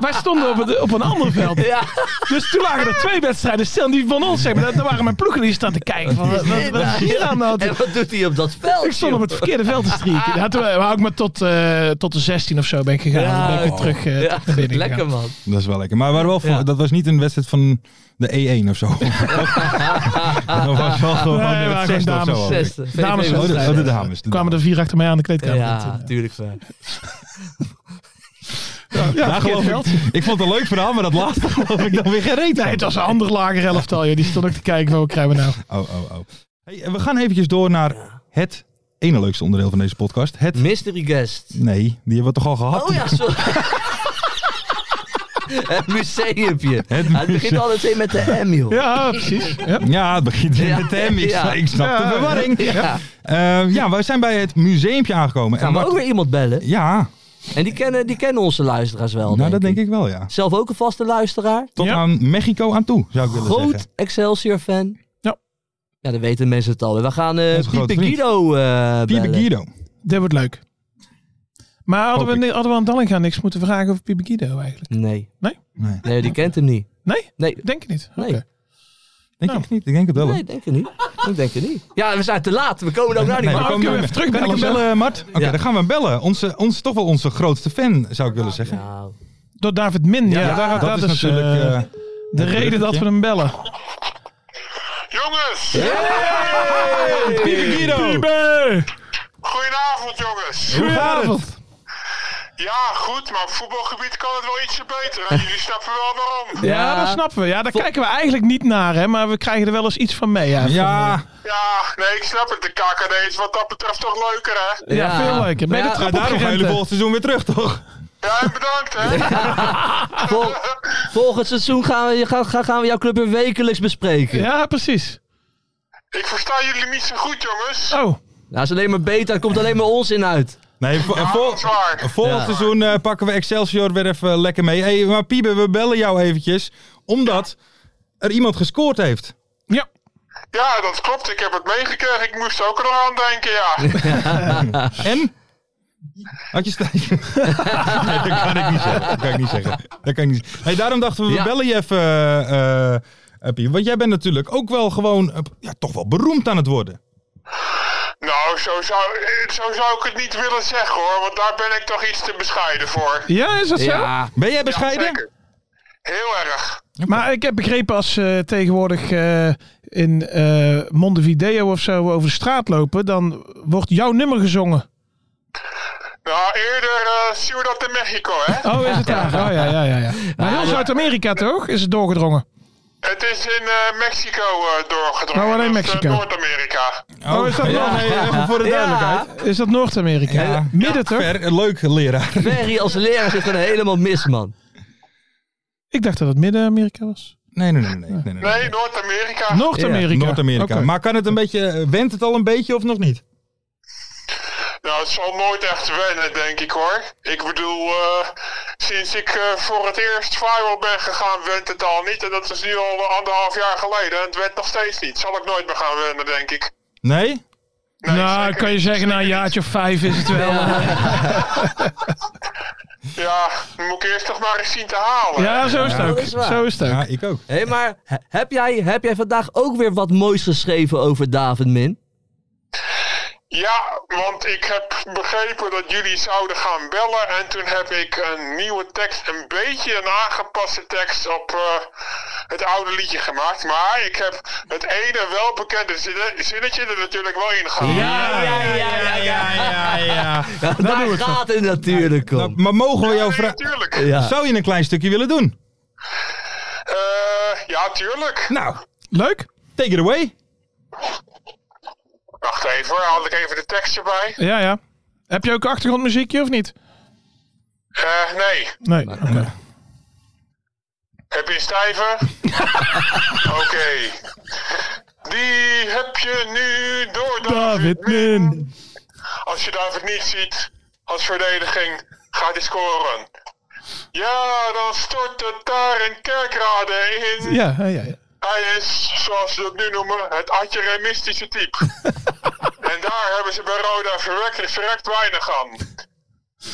Speaker 4: Wij stonden op, het- op een ander veld.
Speaker 1: Ja.
Speaker 4: Dus toen lagen er twee wedstrijden stil. Die van ons, zeg maar. Daar waren mijn ploegen die staan te kijken. Van, wat, wat, wat is hier aan de hand?
Speaker 1: En wat doet hij op dat veld?
Speaker 4: Ik stond op het
Speaker 1: joh?
Speaker 4: verkeerde veld te strieken. Ja, toen hou ik me tot, eh, tot de 16 of zo ben ik gegaan.
Speaker 1: Ja,
Speaker 4: Dan ben ik weer
Speaker 1: oh.
Speaker 4: terug eh,
Speaker 1: Ja,
Speaker 4: naar binnen
Speaker 1: lekker
Speaker 4: gegaan.
Speaker 1: man.
Speaker 3: Dat is wel lekker. Maar we waren wel voor-
Speaker 1: Ja.
Speaker 3: dat was niet een wedstrijd van de E1 of zo. dat was wel gewoon
Speaker 4: Nee, we
Speaker 3: het
Speaker 4: waren
Speaker 3: zesde of
Speaker 4: dames.
Speaker 3: zo.
Speaker 1: Zes.
Speaker 4: Dames-
Speaker 3: Oh, de, oh, de dames.
Speaker 4: Toen kwamen er vier achter mij aan de kleedkamer.
Speaker 1: Ja, tuurlijk. Sven.
Speaker 4: Ja,
Speaker 3: Daar
Speaker 4: verkeerd
Speaker 3: geloof
Speaker 4: veld.
Speaker 3: ik, ik vond het een leuk verhaal, maar dat laatste geloof ik dan weer gereed.
Speaker 4: Nee, het was een ander lager elftal. joh. Die stond ook te kijken van wat krijgen we nou.
Speaker 3: Oh, oh, oh. Hey, we gaan eventjes door naar het ene leukste onderdeel van deze podcast. Het...
Speaker 1: Mystery guest.
Speaker 3: Nee, die hebben we toch al gehad?
Speaker 1: Oh ja, sorry. het museumpje. Het, het begint
Speaker 3: museum.
Speaker 1: altijd weer met de M, joh.
Speaker 4: Ja, precies. Ja.
Speaker 3: Ja, het begint
Speaker 1: Ja,
Speaker 3: met de M. Ik,
Speaker 1: ja.
Speaker 3: ik snap de verwarring.
Speaker 1: Ja.
Speaker 3: Eh, ja, we zijn bij het museumpje aangekomen.
Speaker 1: Gaan we
Speaker 3: wat-
Speaker 1: ook weer iemand bellen?
Speaker 3: Ja,
Speaker 1: En die kennen, die kennen onze luisteraars wel.
Speaker 3: nou, dat denk ik wel, ja.
Speaker 1: Zelf ook een vaste luisteraar.
Speaker 3: Tot
Speaker 4: Ja.
Speaker 3: aan Mexico aan toe, zou ik willen
Speaker 1: Groot
Speaker 3: zeggen.
Speaker 1: Excelsior-fan.
Speaker 4: Ja.
Speaker 1: Ja, dan weten mensen het al. We gaan eh
Speaker 3: Onze grote
Speaker 1: Piepe
Speaker 3: vriend.
Speaker 1: Guido eh
Speaker 3: Piebe
Speaker 1: bellen.
Speaker 3: Guido.
Speaker 4: Dit wordt leuk. Maar hadden we,
Speaker 3: Hoop
Speaker 4: ni- hadden we aan Dallinga niks moeten vragen over Pibe Guido eigenlijk?
Speaker 1: Nee.
Speaker 3: Nee,
Speaker 1: nee, die kent hem niet.
Speaker 4: Nee?
Speaker 1: Nee.
Speaker 4: Denk ik niet. Oké.
Speaker 1: Nee.
Speaker 3: denk
Speaker 4: Nou.
Speaker 3: ik niet. Ik denk het wel. hoor.
Speaker 1: Nee, denk ik niet. Ik denk het niet. Ja, we zijn te laat. We komen er ook naar niet.
Speaker 3: Nee,
Speaker 1: Maar
Speaker 3: we komen
Speaker 4: kunnen we
Speaker 3: er-
Speaker 4: even terugbellen,
Speaker 3: Kan ik hem
Speaker 4: zo?
Speaker 3: bellen, Mart? Oké,
Speaker 1: Ja.
Speaker 3: dan gaan we hem bellen. Onze, ons, toch wel onze grootste fan, zou ik willen zeggen.
Speaker 1: Nou,
Speaker 4: Door David Min. Ja, daar-
Speaker 3: dat, is natuurlijk...
Speaker 4: eh,
Speaker 3: eh,
Speaker 4: de reden dat we hem bellen.
Speaker 6: Jongens,
Speaker 3: Piebe Guido!
Speaker 4: Pibe!
Speaker 6: goedenavond jongens.
Speaker 4: Goedenavond.
Speaker 6: Ja, goed, maar op voetbalgebied kan het wel ietsje beter. En jullie snappen wel waarom.
Speaker 4: Ja, dat snappen we. Ja, daar kijken we eigenlijk niet naar, hè, maar we krijgen er wel eens iets van mee. Ja,
Speaker 3: Ja,
Speaker 6: Ja, nee, ik snap het. De KKD is wat dat betreft toch leuker,
Speaker 4: ja,
Speaker 6: hè?
Speaker 1: Ja.
Speaker 4: veel leuker. Ben je
Speaker 1: Ja,
Speaker 4: de
Speaker 3: ja,
Speaker 4: trap
Speaker 3: daarom gaan jullie
Speaker 4: opgerend?
Speaker 3: volgend seizoen weer terug, toch?
Speaker 6: Ja, en bedankt, hè?
Speaker 1: vol- volgend seizoen gaan we, gaan, gaan- gaan we jouw club weer wekelijks bespreken.
Speaker 4: hè? Ja, precies.
Speaker 6: Ik versta jullie niet zo goed, jongens.
Speaker 4: Oh,
Speaker 1: Nou, is alleen maar beter. Er komt alleen maar ons in uit.
Speaker 3: Nee, vo- eh,
Speaker 6: Ja,
Speaker 3: vol-
Speaker 6: dat is waar.
Speaker 3: volgend
Speaker 1: Ja.
Speaker 3: seizoen eh, pakken we Excelsior weer even lekker mee. Hey, maar Piebe, we bellen jou eventjes. Omdat er iemand gescoord heeft.
Speaker 4: ja.
Speaker 6: Ja, dat klopt. Ik heb het meegekregen. Ik moest ook er nog aan denken, ja.
Speaker 3: En? Had je st- Nee, dat kan ik niet zeggen. Dat kan ik niet zeggen. Dat kan ik niet zeggen. Hey, daarom dachten we, we
Speaker 1: Ja.
Speaker 3: bellen je even, eh, eh, Piebe. Want jij bent natuurlijk ook wel gewoon, eh, ja, toch wel beroemd aan het worden.
Speaker 6: Nou, zo zou, eh, zo zou ik het niet willen zeggen, hoor. Want daar ben ik toch iets te bescheiden voor.
Speaker 4: ja, is dat zo?
Speaker 1: Ja.
Speaker 3: Ben jij bescheiden?
Speaker 6: Zeker. Heel erg.
Speaker 4: Maar ik heb begrepen als ze tegenwoordig eh, in eh Montevideo of zo over de straat lopen, dan wordt jouw nummer gezongen.
Speaker 6: Nou, eerder eh Ciudad de Mexico, hè?
Speaker 4: Oh, is het daar? Oh ja, ja, ja. ja. Maar heel Zuid-Amerika toch? Is het doorgedrongen?
Speaker 6: Het is in eh, Mexico eh doorgedrongen.
Speaker 4: Oh, alleen
Speaker 6: Dat is, eh,
Speaker 4: Mexico.
Speaker 6: Noord-Amerika.
Speaker 3: Oh, is dat wel? Nee, even voor de duidelijkheid.
Speaker 4: Is dat Noord-Amerika?
Speaker 3: Ja.
Speaker 4: Midden toch?
Speaker 3: Ver, een leuk leraar.
Speaker 1: Ferry als leraar zit er helemaal mis, man.
Speaker 4: Ik dacht dat het Midden-Amerika was.
Speaker 3: Nee, nee, nee. nee, nee, nee,
Speaker 6: Nee, Noord-Amerika.
Speaker 4: Noord-Amerika.
Speaker 3: Noord-Amerika.
Speaker 4: Oké.
Speaker 3: Maar kan het een beetje, wendt het al een beetje of nog niet?
Speaker 6: Nou, het zal nooit echt wennen, denk ik hoor. Ik bedoel, eh, sinds ik eh, voor het eerst viral ben gegaan, went het al niet. En dat is nu al anderhalf jaar geleden. En het went nog steeds niet. Zal ik nooit meer gaan wennen, denk ik.
Speaker 3: Nee?
Speaker 6: Nee,
Speaker 4: nou,
Speaker 6: zeker
Speaker 4: kan je
Speaker 6: niet.
Speaker 4: zeggen, na een jaartje of vijf is het wel. Ja,
Speaker 6: Ja, dan moet ik eerst nog maar eens zien te halen.
Speaker 4: zo is het
Speaker 1: Ja,
Speaker 4: ook.
Speaker 1: dat is waar.
Speaker 4: Zo is het ook.
Speaker 3: Ja, ik ook.
Speaker 1: Hé, maar he- heb jij, heb jij vandaag ook weer wat moois geschreven over David Min?
Speaker 6: Ja, want ik heb begrepen dat jullie zouden gaan bellen. En toen heb ik een nieuwe tekst, een beetje een aangepaste tekst op eh, het oude liedje gemaakt. Maar ik heb het ene welbekende zinne- zinnetje er natuurlijk wel in gehaald.
Speaker 1: ja,
Speaker 3: ja, ja, ja, ja.
Speaker 1: Ja, daar gaat het natuurlijk om.
Speaker 3: Nou, maar mogen we jou
Speaker 6: Nee,
Speaker 3: vragen...
Speaker 6: tuurlijk.
Speaker 1: ja.
Speaker 3: Zou je een klein stukje willen doen?
Speaker 6: Eh, ja, tuurlijk.
Speaker 3: Nou,
Speaker 4: Leuk.
Speaker 3: take it away.
Speaker 6: Wacht even hoor, haal ik even de tekst erbij.
Speaker 4: Ja, ja. Heb je ook achtergrondmuziekje of niet?
Speaker 6: Eh, nee.
Speaker 4: Nee. Oké.
Speaker 6: Heb je een stijve? Oké. Die heb je nu door David Min. Als je David niet ziet als verdediging, gaat hij scoren. Ja, dan stort het daar in Kerkrade in.
Speaker 4: Ja, ja, ja.
Speaker 6: Hij is, zoals ze dat nu noemen, het atjeremistische type. en daar hebben ze bij Roda verrekt, verrekt weinig aan.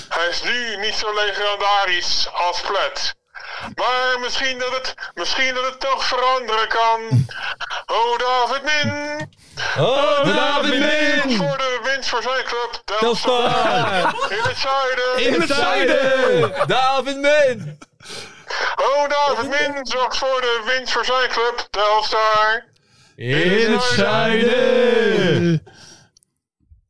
Speaker 6: Hij is nu niet zo legendarisch als Plet. Maar misschien dat het, misschien dat het toch veranderen kan. Oh David Min,
Speaker 3: Oh, David Min!
Speaker 6: voor de winst voor zijn club. Telstar.
Speaker 3: Telstar!
Speaker 6: In het zuiden.
Speaker 3: In het zuiden!
Speaker 1: David Min!
Speaker 6: Oh David Min, zorgt voor de winst voor zijn club. Telstar.
Speaker 3: In het zuiden!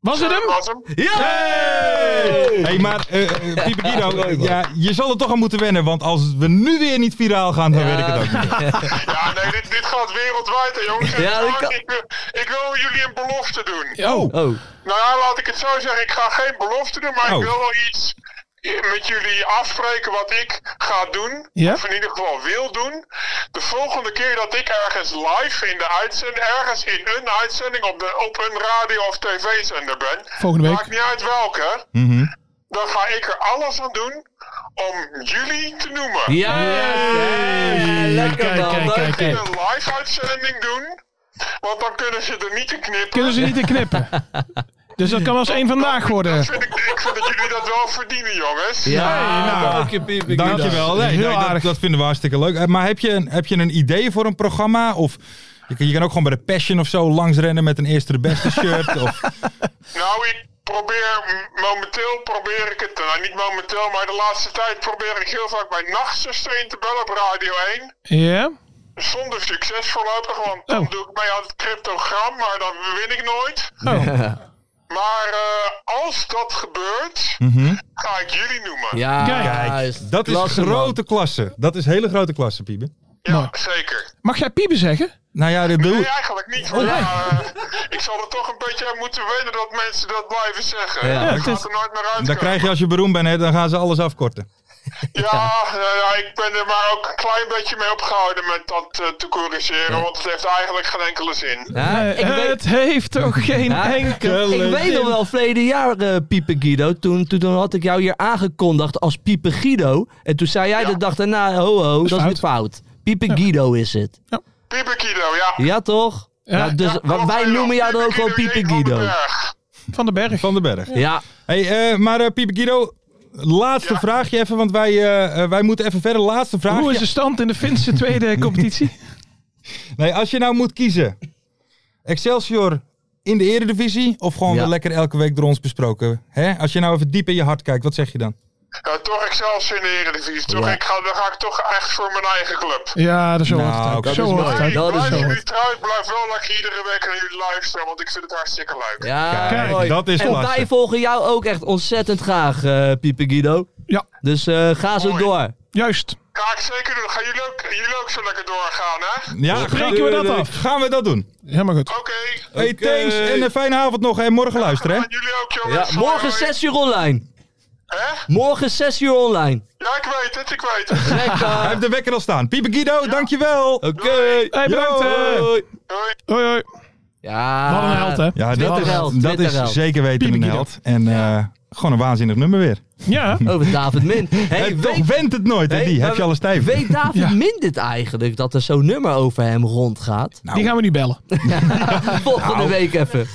Speaker 4: Was het hem?
Speaker 6: Was hem?
Speaker 3: Hey! Hey, maar eh eh, Pieper Guido, ja, je zal er toch aan moeten wennen. Want als we nu weer niet viraal gaan, dan weet ik het ook niet.
Speaker 6: Ja, nee, dit, dit gaat wereldwijd, hè, jongens. En
Speaker 1: Ja, dat
Speaker 6: ik,
Speaker 1: kan-
Speaker 6: ik, wil- ik wil jullie een belofte doen.
Speaker 4: Oh,
Speaker 1: Oh,
Speaker 6: Nou ja, laat ik het zo zeggen. Ik ga geen belofte doen, maar
Speaker 3: Oh.
Speaker 6: ik wil wel iets met jullie afspreken wat ik ga doen.
Speaker 4: Ja?
Speaker 6: Of in ieder geval wil doen. De volgende keer dat ik ergens live in de uitzending, ergens in een uitzending op, de, op een radio of tv-zender ben.
Speaker 4: Volgende week.
Speaker 6: Maakt niet uit welke.
Speaker 3: Mhm.
Speaker 6: Dan ga ik er alles aan doen om jullie te noemen.
Speaker 1: ja! Lekker
Speaker 4: Kijk,
Speaker 1: dan.
Speaker 4: kijk, kijk,
Speaker 1: Lekker.
Speaker 4: kijk.
Speaker 6: Een live uitzending doen. Want dan kunnen ze er niet in knippen.
Speaker 4: kunnen ze niet in knippen. Dus dat kan als één vandaag worden.
Speaker 6: Vind ik, ik vind dat jullie dat wel verdienen, jongens.
Speaker 1: Ja,
Speaker 4: nou,
Speaker 1: dank je, Piep. Ik
Speaker 3: Dankjewel. Nee,
Speaker 4: Heel
Speaker 3: nee, dat-
Speaker 4: aardig.
Speaker 3: Dat, vinden we hartstikke leuk. Eh, Maar heb je, een, heb je een idee voor een programma? Of je, kan- je kan ook gewoon bij de Passion of zo langsrennen met een eerste de beste shirt. of,
Speaker 6: Nou, ik probeer m- momenteel probeer ik het, nou niet momenteel, maar de laatste tijd probeer ik heel vaak mijn nachtzuster in te bellen op Radio 1.
Speaker 4: Ja?
Speaker 6: Zonder succes voorlopig, want dan
Speaker 4: Oh.
Speaker 6: doe ik mee aan het cryptogram, maar dan win ik nooit.
Speaker 4: Oh.
Speaker 6: Maar eh, als dat gebeurt,
Speaker 4: Mhm.
Speaker 6: ga ik jullie noemen.
Speaker 1: Ja,
Speaker 4: Kijk,
Speaker 1: is
Speaker 3: dat is
Speaker 1: klasse, man.
Speaker 3: grote klasse. Dat is hele grote klasse, Piebe.
Speaker 6: Ja,
Speaker 4: Mooi.
Speaker 6: zeker.
Speaker 4: Mag jij piepen zeggen?
Speaker 3: Nou ja, dat bedoel
Speaker 6: Nee, eigenlijk niet. Want, ja, eh, ik zal er toch een beetje aan moeten weten dat mensen dat blijven zeggen.
Speaker 1: Ja,
Speaker 6: Ja,
Speaker 4: het
Speaker 6: ik
Speaker 4: is-
Speaker 6: gaat er nooit meer uit.
Speaker 3: Dan krijg je als je beroemd bent, hè, dan gaan ze alles afkorten.
Speaker 6: Ja, ja, ja, ik ben er maar ook een klein beetje mee opgehouden met dat eh, te corrigeren, want het heeft eigenlijk geen enkele zin.
Speaker 1: Ja, ik
Speaker 3: Eh,
Speaker 1: weet,
Speaker 4: het heeft toch geen
Speaker 1: Ja,
Speaker 4: enkele
Speaker 1: ik weet nog
Speaker 4: zin.
Speaker 1: wel, verleden jaar, eh Piepe Guido, toen, toen, toen had ik jou hier aangekondigd als Piepe Guido. En toen zei jij de dag daarna, ho ho, dat is
Speaker 4: fout.
Speaker 1: niet fout. Piepe Guido is het.
Speaker 6: Pieperkido, ja.
Speaker 1: Ja toch? Ja, dus,
Speaker 6: Ja,
Speaker 1: want
Speaker 6: klopt,
Speaker 1: wij
Speaker 6: ja.
Speaker 1: noemen jou dan ook gewoon Piepe
Speaker 6: J. van den
Speaker 1: Guido.
Speaker 6: Berg.
Speaker 4: Van den Berg.
Speaker 3: Van den Berg.
Speaker 1: Ja,
Speaker 3: Hey, eh, maar eh Piebe Guido, laatste vraagje even, want wij, eh, eh, wij moeten even verder. Laatste vraagje.
Speaker 4: Hoe is de stand in de Finse tweede competitie?
Speaker 3: Nee, als je nou moet kiezen. Excelsior in de eredivisie of gewoon
Speaker 1: Ja.
Speaker 3: weer lekker elke week door ons besproken? Hè? Als je nou even diep in je hart kijkt, wat zeg je dan?
Speaker 6: Ja, toch ik zelfs in de Eredivisie. Toch,
Speaker 1: Ja.
Speaker 6: ik ga, dan ga ik toch echt voor mijn eigen club.
Speaker 4: Ja, dat is
Speaker 3: Nou,
Speaker 4: hoort het ook.
Speaker 3: dat
Speaker 4: Zo
Speaker 1: is
Speaker 4: hoort
Speaker 1: mooi.
Speaker 4: het
Speaker 6: Maar
Speaker 4: ook.
Speaker 6: ik
Speaker 1: dat is
Speaker 6: blijf
Speaker 1: zo.
Speaker 6: jullie trouw, ik blijf wel lekker iedere week naar jullie luisteren, want ik vind het hartstikke leuk.
Speaker 1: ja
Speaker 3: Kijk,
Speaker 1: mooi.
Speaker 3: dat is
Speaker 1: En
Speaker 3: klasse.
Speaker 1: wij volgen jou ook echt ontzettend graag, eh Piepe Guido.
Speaker 4: Ja.
Speaker 1: Dus eh, ga zo
Speaker 6: Mooi.
Speaker 1: door.
Speaker 4: Juist.
Speaker 6: Ga ik zeker doen. Gaan jullie ook, jullie ook zo lekker doorgaan, hè?
Speaker 3: Ja,
Speaker 4: Spreken we dat af?
Speaker 3: Gaan we dat doen.
Speaker 4: Helemaal goed.
Speaker 6: Oké.
Speaker 3: Hey, thanks en een fijne avond nog. En morgen luisteren, hè?
Speaker 6: Aan jullie ook,
Speaker 1: Ja,
Speaker 6: jongens.
Speaker 1: morgen
Speaker 6: Hoi.
Speaker 1: 6 uur online.
Speaker 6: Hè?
Speaker 1: Morgen 6 uur online.
Speaker 6: Ja, ik weet het, ik weet het.
Speaker 1: Lekker.
Speaker 3: Hij heeft de wekker al staan. Pieper Guido, dankjewel.
Speaker 1: Oké.
Speaker 4: Hey, bedankt. eh.
Speaker 1: Hoi.
Speaker 6: Hoi.
Speaker 4: Hoi, hoi.
Speaker 1: Ja.
Speaker 4: Wat een held, hè?
Speaker 3: Ja, dat
Speaker 1: Twitterheld,
Speaker 3: is, dat
Speaker 1: Twitterheld.
Speaker 3: is zeker weten een
Speaker 4: Pieper
Speaker 3: held. En eh, gewoon een waanzinnig nummer weer.
Speaker 4: Ja.
Speaker 1: Over David Min. Hey,
Speaker 3: Hey, toch
Speaker 1: weet,
Speaker 3: went het nooit, hè?
Speaker 1: hey,
Speaker 3: Die heb
Speaker 1: maar
Speaker 3: je al eens stijf.
Speaker 1: weet David Min dit eigenlijk? Dat er zo'n nummer over hem rondgaat?
Speaker 3: Nou,
Speaker 4: Die gaan we niet bellen.
Speaker 1: Volgende week even.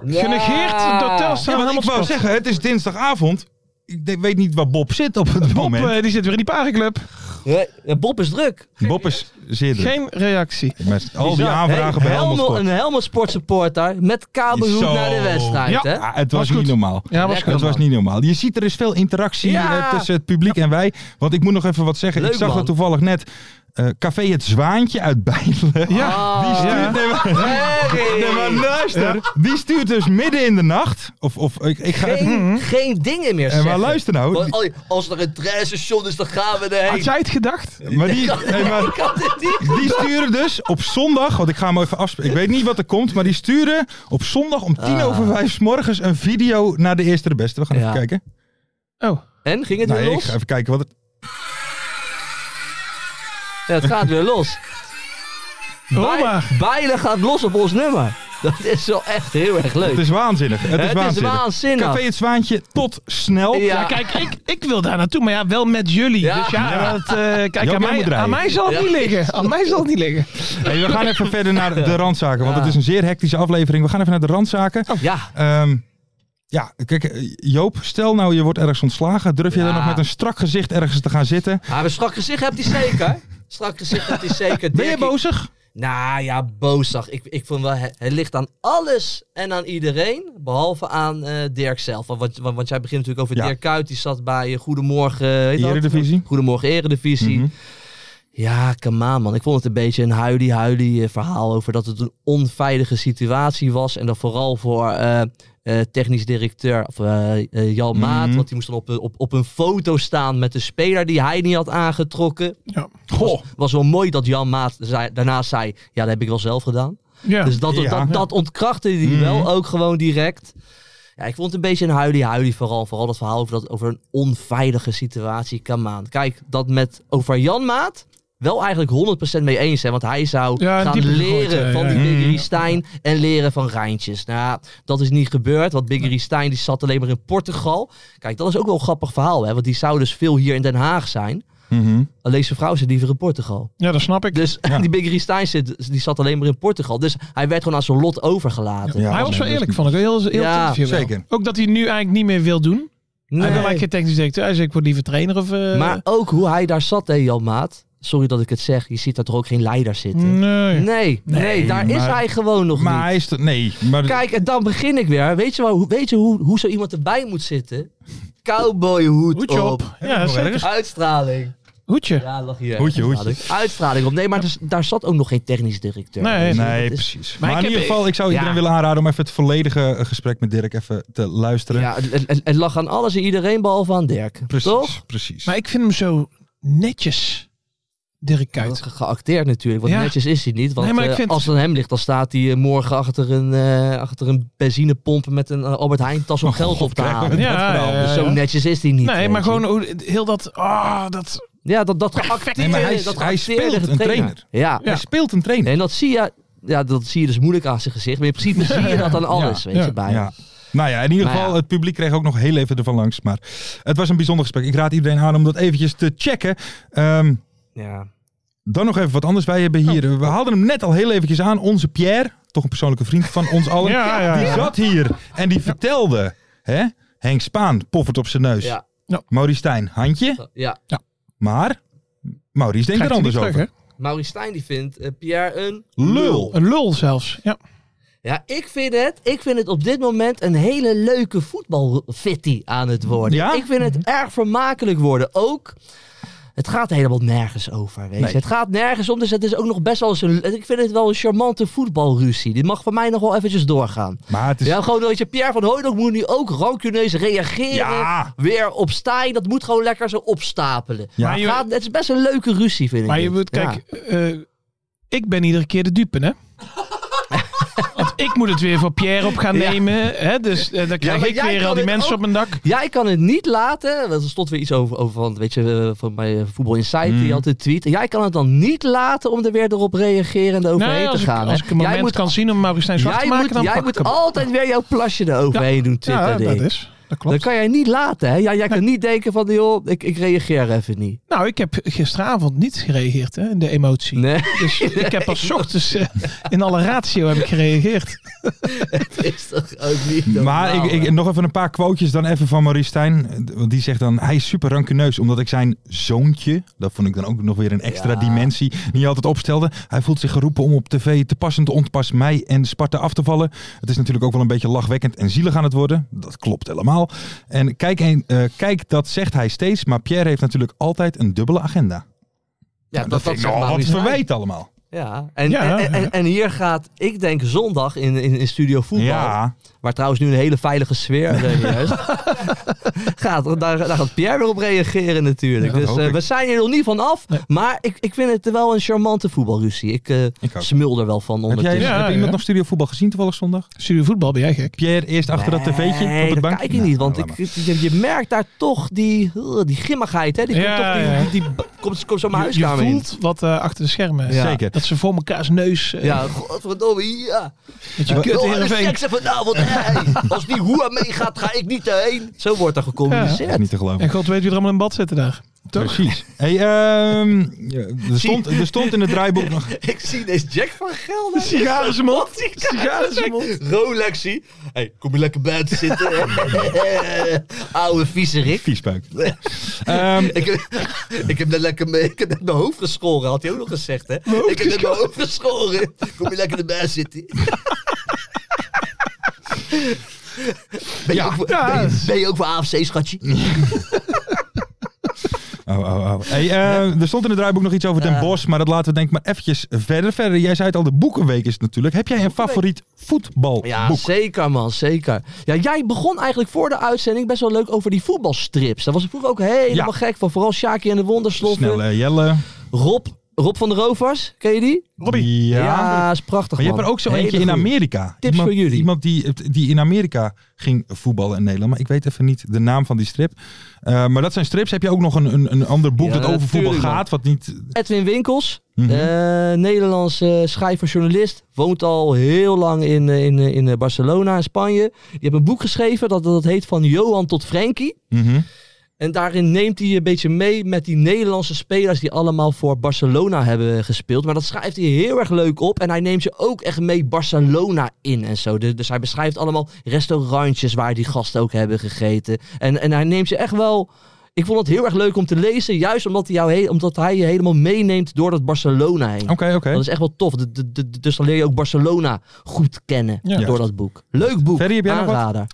Speaker 4: Genegeerd door Telstra
Speaker 3: Ja,
Speaker 4: en
Speaker 3: want ik wou
Speaker 4: Helmond Sport.
Speaker 3: zeggen, het is dinsdagavond. Ik denk- weet niet waar Bob zit op het
Speaker 4: Bob,
Speaker 3: moment.
Speaker 4: eh, die zit weer in die parenclub.
Speaker 1: Ja, eh, Bob is druk.
Speaker 3: Bob is zeer
Speaker 1: Hm.
Speaker 3: druk.
Speaker 4: Geen reactie.
Speaker 3: Met al die aanvragen
Speaker 1: Hey,
Speaker 3: bij Helmond
Speaker 1: Helmond-
Speaker 3: Sport.
Speaker 1: Een Helmond Sport supporter met kabelhoed
Speaker 3: Zo.
Speaker 1: naar de wedstrijd.
Speaker 4: Ja.
Speaker 1: Hè?
Speaker 3: Ja, ah, het was,
Speaker 4: Was
Speaker 3: niet
Speaker 4: goed.
Speaker 3: normaal.
Speaker 4: Ja, was
Speaker 1: Lekker,
Speaker 3: het
Speaker 4: goed.
Speaker 3: was
Speaker 1: man.
Speaker 3: niet normaal. Je ziet er is veel interactie
Speaker 1: Ja.
Speaker 3: eh, tussen het publiek en wij. Want ik moet nog even wat zeggen.
Speaker 1: Leuk,
Speaker 3: ik zag
Speaker 1: man.
Speaker 3: dat toevallig net. eh, Café Het Zwaantje uit Bijlen.
Speaker 4: Ja.
Speaker 3: Die
Speaker 1: Ah.
Speaker 3: stuurt,
Speaker 4: Ja.
Speaker 3: nee, maar,
Speaker 1: Hey.
Speaker 3: nee, maar luister. Die stuurt dus midden in de nacht. Of, of ik, ik ga Mhm. even...
Speaker 1: Geen, geen dingen meer
Speaker 3: Eh,
Speaker 1: zeggen.
Speaker 3: maar luister nou.
Speaker 1: Want al- Als er een treinstation is, dan gaan we erheen.
Speaker 4: Had jij het gedacht?
Speaker 3: Maar die, nee, maar,
Speaker 1: Ik had dit niet
Speaker 3: Die sturen dus op zondag, want ik ga hem even afspreken. Ik weet niet wat er komt, maar die sturen op zondag om tien over vijf 's morgens een video naar de eerste de beste. We gaan
Speaker 1: Ah. Ja.
Speaker 3: even kijken.
Speaker 4: Oh.
Speaker 1: En ging het weer
Speaker 3: Nee, ik
Speaker 1: los?
Speaker 3: ga even kijken wat het.
Speaker 1: Ja, het gaat weer los.
Speaker 4: Oh, maar.
Speaker 1: Bijlen gaat los op ons nummer. Dat is wel echt heel erg leuk.
Speaker 3: Het is waanzinnig. Het is waanzinnig.
Speaker 1: waanzinnig.
Speaker 3: Café het Zwaantje, tot snel.
Speaker 4: Ja, kijk, ik, ik wil daar naartoe, maar ja, wel met jullie.
Speaker 1: Ja.
Speaker 4: Dus ja, dat, eh, kijk,
Speaker 3: Jan
Speaker 4: aan
Speaker 3: moet
Speaker 4: mij,
Speaker 3: draaien.
Speaker 4: aan mij zal het
Speaker 1: Ja.
Speaker 4: niet liggen. Aan mij zal het niet liggen.
Speaker 3: Hey, we gaan even verder naar de randzaken, want
Speaker 1: Ja. Oh.
Speaker 3: het is een zeer hectische aflevering. We gaan even naar de randzaken.
Speaker 1: Ja,
Speaker 3: Ehm, ja, kijk, eh, Joop, stel nou je wordt ergens ontslagen. Durf je
Speaker 1: Ja.
Speaker 3: dan nog met een strak gezicht ergens te gaan zitten?
Speaker 1: maar een strak gezicht hebt hij zeker. Strak gezicht hebt hij zeker.
Speaker 3: Ben je
Speaker 1: Dirkie-
Speaker 3: bozig?
Speaker 1: Nou ja, bozig. Ik, ik vond wel, het, het ligt aan alles en aan iedereen, behalve aan eh, Dirk zelf. Want, want, want jij begint natuurlijk over
Speaker 3: Ja.
Speaker 1: Dirk Kuyt, die zat bij eh, Goedemorgen... eh, heet dat?
Speaker 3: Eredivisie.
Speaker 1: Goedemorgen Eredivisie.
Speaker 3: Mhm.
Speaker 1: Ja, come on, man. Ik vond het een beetje een huilie-huilie eh, verhaal over dat het een onveilige situatie was. En dat vooral voor eh, eh, technisch directeur of, eh, eh, Jan Maat.
Speaker 3: Mhm.
Speaker 1: Want die moest dan op, een- op, op een foto staan met de speler die hij niet had aangetrokken.
Speaker 4: Ja.
Speaker 1: Goh. Was, was wel mooi dat Jan Maat zei, daarnaast zei, ja, dat heb ik wel zelf gedaan.
Speaker 4: Ja.
Speaker 1: Dus dat,
Speaker 3: Ja.
Speaker 1: dat, dat ontkrachtte hij
Speaker 3: Mhm.
Speaker 1: wel ook gewoon direct. Ja, ik vond het een beetje een huilie-huilie vooral. Vooral dat verhaal over, dat, over een onveilige situatie. Come on. Kijk, dat met over Jan Maat wel eigenlijk 100% mee eens zijn. Want hij zou
Speaker 4: Ja,
Speaker 1: gaan
Speaker 4: dieper gegooid,
Speaker 1: leren
Speaker 4: ja,
Speaker 1: van
Speaker 4: ja,
Speaker 1: die
Speaker 4: ja.
Speaker 1: Biggery
Speaker 4: Mhm.
Speaker 1: Stijn en leren van Rijntjes. Nou, ja, dat is niet gebeurd. Want Biggery Stijn die zat alleen maar in Portugal. Kijk, dat is ook wel een grappig verhaal. Hè? Want die zou dus veel hier in Den Haag zijn.
Speaker 3: Mhm.
Speaker 1: Alleen zijn vrouw zit liever in Portugal.
Speaker 4: ja, dat snap ik.
Speaker 1: Dus
Speaker 3: Ja.
Speaker 1: die Biggery Stijn zit, die zat alleen maar in Portugal. Dus hij werd gewoon aan zijn lot overgelaten.
Speaker 3: Ja,
Speaker 4: hij was wel
Speaker 3: nee,
Speaker 4: eerlijk,
Speaker 3: dat-
Speaker 4: vond ik. Heel, heel
Speaker 1: Ja,
Speaker 4: interview wel.
Speaker 3: zeker.
Speaker 4: Ook dat hij nu eigenlijk niet meer wil doen. Hij
Speaker 1: Nee.
Speaker 4: wil eigenlijk geen technisch directeur. Hij zegt, ik word liever trainer of... eh,
Speaker 1: Maar ook hoe hij daar zat, hè, Jan Maat. Sorry dat ik het zeg. Je ziet daar toch ook geen leider zitten?
Speaker 4: Nee.
Speaker 1: Nee, nee, daar is
Speaker 3: maar-
Speaker 1: hij gewoon nog
Speaker 3: Maar
Speaker 1: niet.
Speaker 3: hij is... er- Nee, maar...
Speaker 1: Kijk, en dan begin ik weer. Weet je, wel, hoe- weet je hoe, hoe zo iemand erbij moet zitten? Cowboyhoed
Speaker 4: Hoedje
Speaker 1: op.
Speaker 4: op. Ja, zeker.
Speaker 1: Uitstraling.
Speaker 4: Hoedje.
Speaker 1: Ja, lach hier.
Speaker 3: Hoedje, hoedje.
Speaker 1: Uitstraling. Uitstraling op. Nee, maar dus, daar zat ook nog geen technisch directeur.
Speaker 4: Nee.
Speaker 1: Dus
Speaker 3: Nee,
Speaker 1: dat is-
Speaker 3: precies. Maar,
Speaker 4: Maar ik
Speaker 3: in
Speaker 4: heb-
Speaker 3: ieder geval, ik zou iedereen
Speaker 1: Ja.
Speaker 3: willen aanraden om even het volledige eh, gesprek met Dirk even te luisteren.
Speaker 1: Ja, het, het- het lag aan alles en iedereen behalve aan Dirk.
Speaker 3: precies.
Speaker 1: Toch?
Speaker 3: Precies.
Speaker 4: Maar ik vind hem zo netjes, Dirk Kuyt.
Speaker 1: Ge- geacteerd natuurlijk, want
Speaker 4: Ja.
Speaker 1: netjes is hij niet. Want
Speaker 4: Nee, maar ik
Speaker 1: eh,
Speaker 4: vind-
Speaker 1: als het aan hem ligt, dan staat hij eh, morgen achter een, eh, achter een benzinepomp met een eh, Albert Heijn tas om
Speaker 3: Oh,
Speaker 1: geld
Speaker 3: God,
Speaker 1: op te
Speaker 3: krijgen we
Speaker 1: halen.
Speaker 4: dat Ja, verhaal. ja,
Speaker 1: Dus zo
Speaker 4: ja.
Speaker 1: netjes is hij niet.
Speaker 4: Nee,
Speaker 1: weet
Speaker 4: maar
Speaker 1: je.
Speaker 4: gewoon hoe- heel dat... ah dat
Speaker 1: Ja, dat, dat geacteerd.
Speaker 3: Nee, maar hij-
Speaker 1: dat
Speaker 3: hij
Speaker 1: geacteerde
Speaker 3: speelt een trainer.
Speaker 1: Ja.
Speaker 3: Hij speelt een trainer.
Speaker 1: En dat zie je... Ja, dat zie je dus moeilijk aan zijn gezicht. Maar in principe zie je dat aan alles, weet
Speaker 4: ja,
Speaker 1: je, bij hem.
Speaker 3: Ja. Nou ja, in ieder
Speaker 1: Nou
Speaker 3: geval,
Speaker 1: ja.
Speaker 3: het publiek kreeg ook nog heel even ervan langs. Maar het was een bijzonder gesprek. Ik raad iedereen aan om dat eventjes te checken. Ehm,
Speaker 1: Ja.
Speaker 3: dan nog even wat anders. Wij hebben hier,
Speaker 1: Oh.
Speaker 3: we haalden hem net al heel eventjes aan. Onze Pierre, toch een persoonlijke vriend van ons allen.
Speaker 4: Ja, ja,
Speaker 3: Die
Speaker 4: ja.
Speaker 3: zat hier en die vertelde, hè, Henk Spaan, poffert op zijn neus.
Speaker 1: Ja.
Speaker 3: Maurice Stijn, handje.
Speaker 1: Ja. ja.
Speaker 3: Maar Maurice denkt
Speaker 4: krijgt
Speaker 3: er
Speaker 4: hij niet
Speaker 3: anders
Speaker 4: terug,
Speaker 3: over.
Speaker 4: hè?
Speaker 1: Maurice Stijn die vindt eh, Pierre een
Speaker 3: Lul.
Speaker 4: Een lul zelfs. Ja.
Speaker 1: Ja, ik vind het, ik vind het op dit moment een hele leuke voetbalfitty aan het worden.
Speaker 3: Ja? Mhm.
Speaker 1: Ik vind het erg vermakelijk worden. Ook, het gaat helemaal nergens over. Weet je.
Speaker 3: Nee.
Speaker 1: Het gaat nergens om, dus het is ook nog best wel eens een... Ik vind het wel een charmante voetbalruzie. Die mag van mij nog wel eventjes doorgaan.
Speaker 3: Maar het is...
Speaker 1: Ja, gewoon dat je Pierre van Hooydonk moet nu ook rancuneus reageren.
Speaker 3: Ja.
Speaker 1: Weer op Stijn, dat moet gewoon lekker zo opstapelen.
Speaker 3: Ja.
Speaker 1: Maar het, gaat- het is best een leuke ruzie, vind ik.
Speaker 4: Maar je
Speaker 1: dit.
Speaker 4: moet,
Speaker 1: Ja.
Speaker 4: kijk, eh, ik ben iedere keer de dupe, hè? Want ik moet het weer voor Pierre op gaan
Speaker 1: Ja.
Speaker 4: nemen. Hè? Dus eh, dan krijg
Speaker 1: maar
Speaker 4: ik
Speaker 1: jij
Speaker 4: weer
Speaker 1: kan
Speaker 4: al die
Speaker 1: dit
Speaker 4: mensen
Speaker 1: ook-
Speaker 4: op mijn dak.
Speaker 1: Ja, ik kan het niet laten. Er stond weer iets over, over van, weet je, eh, van bij Voetbal Insight, die had een tweet. Jij kan het dan niet laten om er weer erop reageren en er overheen
Speaker 4: Nee, Nou, als,
Speaker 1: te
Speaker 4: ik,
Speaker 1: gaan. hè.
Speaker 4: als ik een moment
Speaker 1: jij moet,
Speaker 4: kan zien om Mauristijn zwart te
Speaker 1: jij
Speaker 4: maken,
Speaker 1: moet,
Speaker 4: dan
Speaker 1: jij
Speaker 4: pak
Speaker 1: moet
Speaker 4: ik hem.
Speaker 1: altijd weer jouw plasje eroverheen doen, Twitter.
Speaker 4: Ja, dat
Speaker 1: ding.
Speaker 4: is. Dat
Speaker 1: Dat
Speaker 4: klopt.
Speaker 1: kan jij niet laten, hè? Ja, jij kan niet denken van, joh, ik, ik reageer even niet.
Speaker 4: Nou, ik heb gisteravond niet gereageerd hè, in de emotie.
Speaker 1: Nee,
Speaker 4: Dus ik heb pas ochtends eh, in alle ratio heb ik gereageerd.
Speaker 1: dat is toch ook niet normaal,
Speaker 3: Maar ik, ik,
Speaker 1: hè?
Speaker 3: nog even een paar quotejes dan even van Maurice Stijn. Eh, Want die zegt dan, hij is super rancuneus omdat ik zijn zoontje, dat vond ik dan ook nog weer een extra
Speaker 1: Ja.
Speaker 3: dimensie, niet altijd opstelde. Hij voelt zich geroepen om op tv te pas en te onpas mij en Sparta af te vallen. Het is natuurlijk ook wel een beetje lachwekkend en zielig aan het worden. Dat klopt helemaal. En kijk, een, eh, kijk dat zegt hij steeds, maar Pierre heeft natuurlijk altijd een dubbele agenda.
Speaker 1: ja, dat, dat,
Speaker 3: vind ik
Speaker 1: zegt
Speaker 3: nogal wat
Speaker 1: Maurice Stijn.
Speaker 3: verwijt allemaal.
Speaker 1: Ja, en,
Speaker 4: Ja,
Speaker 1: en, en, en hier gaat, ik denk zondag in, in, in Studio Voetbal,
Speaker 3: Ja,
Speaker 1: Waar trouwens nu een hele veilige sfeer eh, juist. gaat, daar, daar gaat Pierre weer op reageren natuurlijk.
Speaker 3: Ja, dat
Speaker 1: dus
Speaker 3: hoop
Speaker 1: eh,
Speaker 3: ik.
Speaker 1: we zijn er nog niet van af. Maar ik, ik vind het wel een charmante voetbalruzie. Ik, eh
Speaker 3: ik ook.
Speaker 1: smul er wel van
Speaker 3: Heb, jij,
Speaker 1: ondertussen.
Speaker 4: Ja,
Speaker 3: heb
Speaker 4: ja.
Speaker 3: iemand nog studio voetbal gezien toevallig zondag?
Speaker 4: Studio voetbal ben jij gek.
Speaker 3: Pierre eerst achter dat tv'tje op
Speaker 1: Nee,
Speaker 3: de
Speaker 1: dat
Speaker 3: bank?
Speaker 1: kijk ik niet. Want
Speaker 3: Nou,
Speaker 1: ik, je, je merkt daar toch die, eh, die gimmigheid. Hè? Die
Speaker 4: Ja,
Speaker 1: komt toch die,
Speaker 4: ja.
Speaker 1: die, die- komt, komt zo mijn
Speaker 4: Je, je
Speaker 1: huiskamer in.
Speaker 4: voelt wat eh, achter de schermen.
Speaker 1: Ja.
Speaker 3: Zeker.
Speaker 4: Dat ze voor mekaars neus. eh,
Speaker 1: Ja, godverdomme, ja.
Speaker 4: Met je kut
Speaker 1: oh, de
Speaker 4: Heerenveen.
Speaker 1: seks er vanavond. Hey, als die hoer meegaat, ga ik niet heen. Zo wordt er gecommuniceerd.
Speaker 3: Echt niet te geloven.
Speaker 4: En god weet wie er allemaal in bad zitten daar. Toch?
Speaker 3: Precies. Hey, ehm, er, stond, er stond in het draaiboek nog...
Speaker 1: Ik zie deze Jack van Gelder.
Speaker 4: Sigaren zijn mond.
Speaker 1: Sigaren zijn mond. Rolexie. hey, kom je lekker buiten zitten? Oude vieze Rick.
Speaker 3: Viespeuk. Ehm,
Speaker 1: Ik, ik heb net lekker mee, ik heb net mijn hoofd geschoren, had hij ook nog gezegd, hè? Ik heb net mijn hoofd geschoren. Kom je lekker erbij zitten? Ben je,
Speaker 3: Ja,
Speaker 1: ook, voor- ben, je, ben je ook voor AFC, schatje?
Speaker 3: Oh, oh, oh. Hey, eh, Er stond in het draaiboek nog iets over Den Bos, maar dat laten we denk ik maar eventjes verder. Verder, jij zei het al, de boekenweek is het natuurlijk. Heb jij een favoriet voetbalboek?
Speaker 1: Ja, zeker man, zeker. Ja, jij begon eigenlijk voor de uitzending best wel leuk over die voetbalstrips. Daar was ik vroeger ook helemaal
Speaker 3: Ja.
Speaker 1: gek van. Vooral Sjaki en de Wondersloffen.
Speaker 3: Snel, eh, Jelle.
Speaker 1: Rob, Rob van de Rovers, ken je die?
Speaker 3: Ja.
Speaker 1: Ja, is prachtig
Speaker 3: Maar je
Speaker 1: man.
Speaker 3: hebt er ook zo
Speaker 1: Hele
Speaker 3: eentje in
Speaker 1: goeie.
Speaker 3: Amerika.
Speaker 1: Tips
Speaker 3: iemand,
Speaker 1: voor jullie.
Speaker 3: Iemand die, die in Amerika ging voetballen in Nederland. Maar ik weet even niet de naam van die strip. Eh, maar dat zijn strips. Heb je ook nog een, een, een ander boek
Speaker 1: Ja,
Speaker 3: dat over voetbal
Speaker 1: tuurlijk, man.
Speaker 3: gaat? Wat niet...
Speaker 1: Edwin Winkels,
Speaker 3: Mhm.
Speaker 1: eh, Nederlandse schrijver, journalist. Woont al heel lang in, eh, in, eh, in eh, Barcelona, in Spanje. Die heeft een boek geschreven dat, dat heet Van Johan tot Frenkie.
Speaker 3: Mhm.
Speaker 1: En daarin neemt hij een beetje mee met die Nederlandse spelers die allemaal voor Barcelona hebben gespeeld. Maar dat schrijft hij heel erg leuk op. En hij neemt je ook echt mee Barcelona in en zo. Dus, dus hij beschrijft allemaal restaurantjes waar die gasten ook hebben gegeten. En, en hij neemt je echt wel... Ik vond het heel erg leuk om te lezen. Juist omdat hij, jou he- omdat hij je helemaal meeneemt door dat Barcelona heen.
Speaker 3: Oké, oké.
Speaker 1: Dat is echt wel tof. De- de- de- dus dan leer je ook Barcelona goed kennen
Speaker 4: Ja.
Speaker 1: door dat boek. Leuk boek.
Speaker 3: Ferry, heb jij nog wat?
Speaker 1: Aanrader.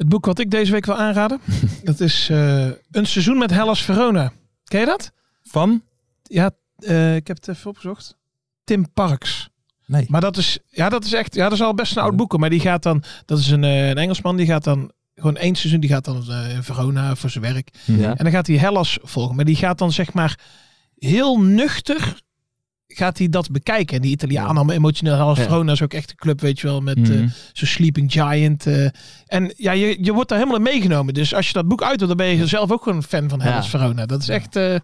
Speaker 4: Het boek wat ik deze week wil aanraden, dat is eh, Een seizoen met Hellas Verona. Ken je dat?
Speaker 3: Van?
Speaker 4: Ja, eh, ik heb het even opgezocht. Tim Parks.
Speaker 3: Nee.
Speaker 4: Maar dat is, ja, dat is echt, ja, dat is al best een oud boek. hoor. Maar die gaat dan, dat is een, eh, een Engelsman, die gaat dan gewoon één seizoen, die gaat dan eh, in Verona voor zijn werk.
Speaker 1: Ja.
Speaker 4: En dan gaat hij Hellas volgen. Maar die gaat dan zeg maar heel nuchter gaat hij dat bekijken. En die Italianen
Speaker 1: Ja.
Speaker 4: allemaal emotioneel. Hellas
Speaker 1: Ja.
Speaker 4: Verona is ook echt een club, weet je wel, met
Speaker 3: Mhm.
Speaker 4: eh, zo'n sleeping giant. eh. en ja, je, je wordt daar helemaal in meegenomen. Dus als je dat boek uit wil, dan ben je zelf ook gewoon een fan van Hellas
Speaker 1: Ja.
Speaker 4: Verona. Dat is echt eh, eh,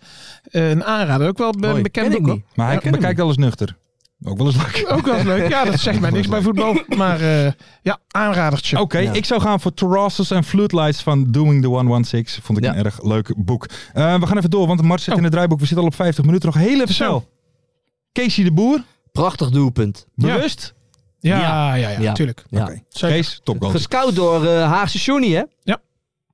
Speaker 4: een aanrader. Ook wel be-
Speaker 1: Mooi.
Speaker 4: een bekend
Speaker 1: Ken ik
Speaker 4: boek. hoor.
Speaker 1: niet.
Speaker 3: Maar hij bekijkt alles nuchter. Ook wel eens leuk.
Speaker 4: Ook wel eens leuk. Ja, dat zegt mij niks bij voetbal. Maar eh, ja, aanradertje.
Speaker 3: Oké,
Speaker 1: Ja.
Speaker 3: ik zou gaan voor Terrasses and Floodlights van Doing the 116. Vond ik
Speaker 1: Ja.
Speaker 3: een erg leuk boek. Eh, we gaan even door, want Mart zit
Speaker 4: Oh.
Speaker 3: in het draaiboek. We zitten al op 50 minuten. Nog heel even snel. Casey de Boer,
Speaker 1: Prachtig doelpunt.
Speaker 3: bewust.
Speaker 4: Ja, ja, ja,
Speaker 1: Ja.
Speaker 4: tuurlijk.
Speaker 1: Ja.
Speaker 3: Oké.
Speaker 4: Zeker.
Speaker 3: Kees, topgoal.
Speaker 1: Gescout door eh, Haagse Johnny, hè?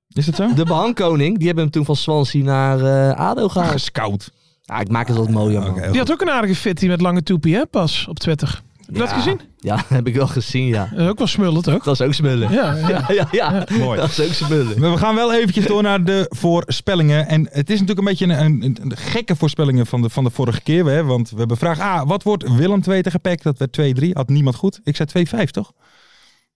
Speaker 3: Is dat zo?
Speaker 1: De behangkoning. Die hebben hem toen van Swansea naar eh, ADO
Speaker 3: Ah,
Speaker 1: gehaald.
Speaker 3: Gescout.
Speaker 1: Ja, Ah, ik maak het wat mooier, man.
Speaker 3: Oké, heel
Speaker 4: Die
Speaker 3: goed.
Speaker 4: had ook een aardige fit die met lange toepie, hè, pas op Twitter. Heb je dat
Speaker 1: Ja.
Speaker 4: gezien?
Speaker 1: Ja, heb ik wel gezien, ja.
Speaker 4: Dat is ook wel smullend, toch?
Speaker 1: Dat is ook smullen. Ja,
Speaker 4: Ja, ja.
Speaker 1: ja,
Speaker 3: Mooi.
Speaker 1: Dat is ook smullen.
Speaker 3: Maar We gaan wel eventjes door naar de voorspellingen. En het is natuurlijk een beetje een, een, een- een gekke voorspellingen van de, van de vorige keer. Hè? Want we hebben vraag A. Wat wordt Willem 2 tegen PEC? Dat werd 2-3. Had niemand goed. Ik zei 2-5, toch?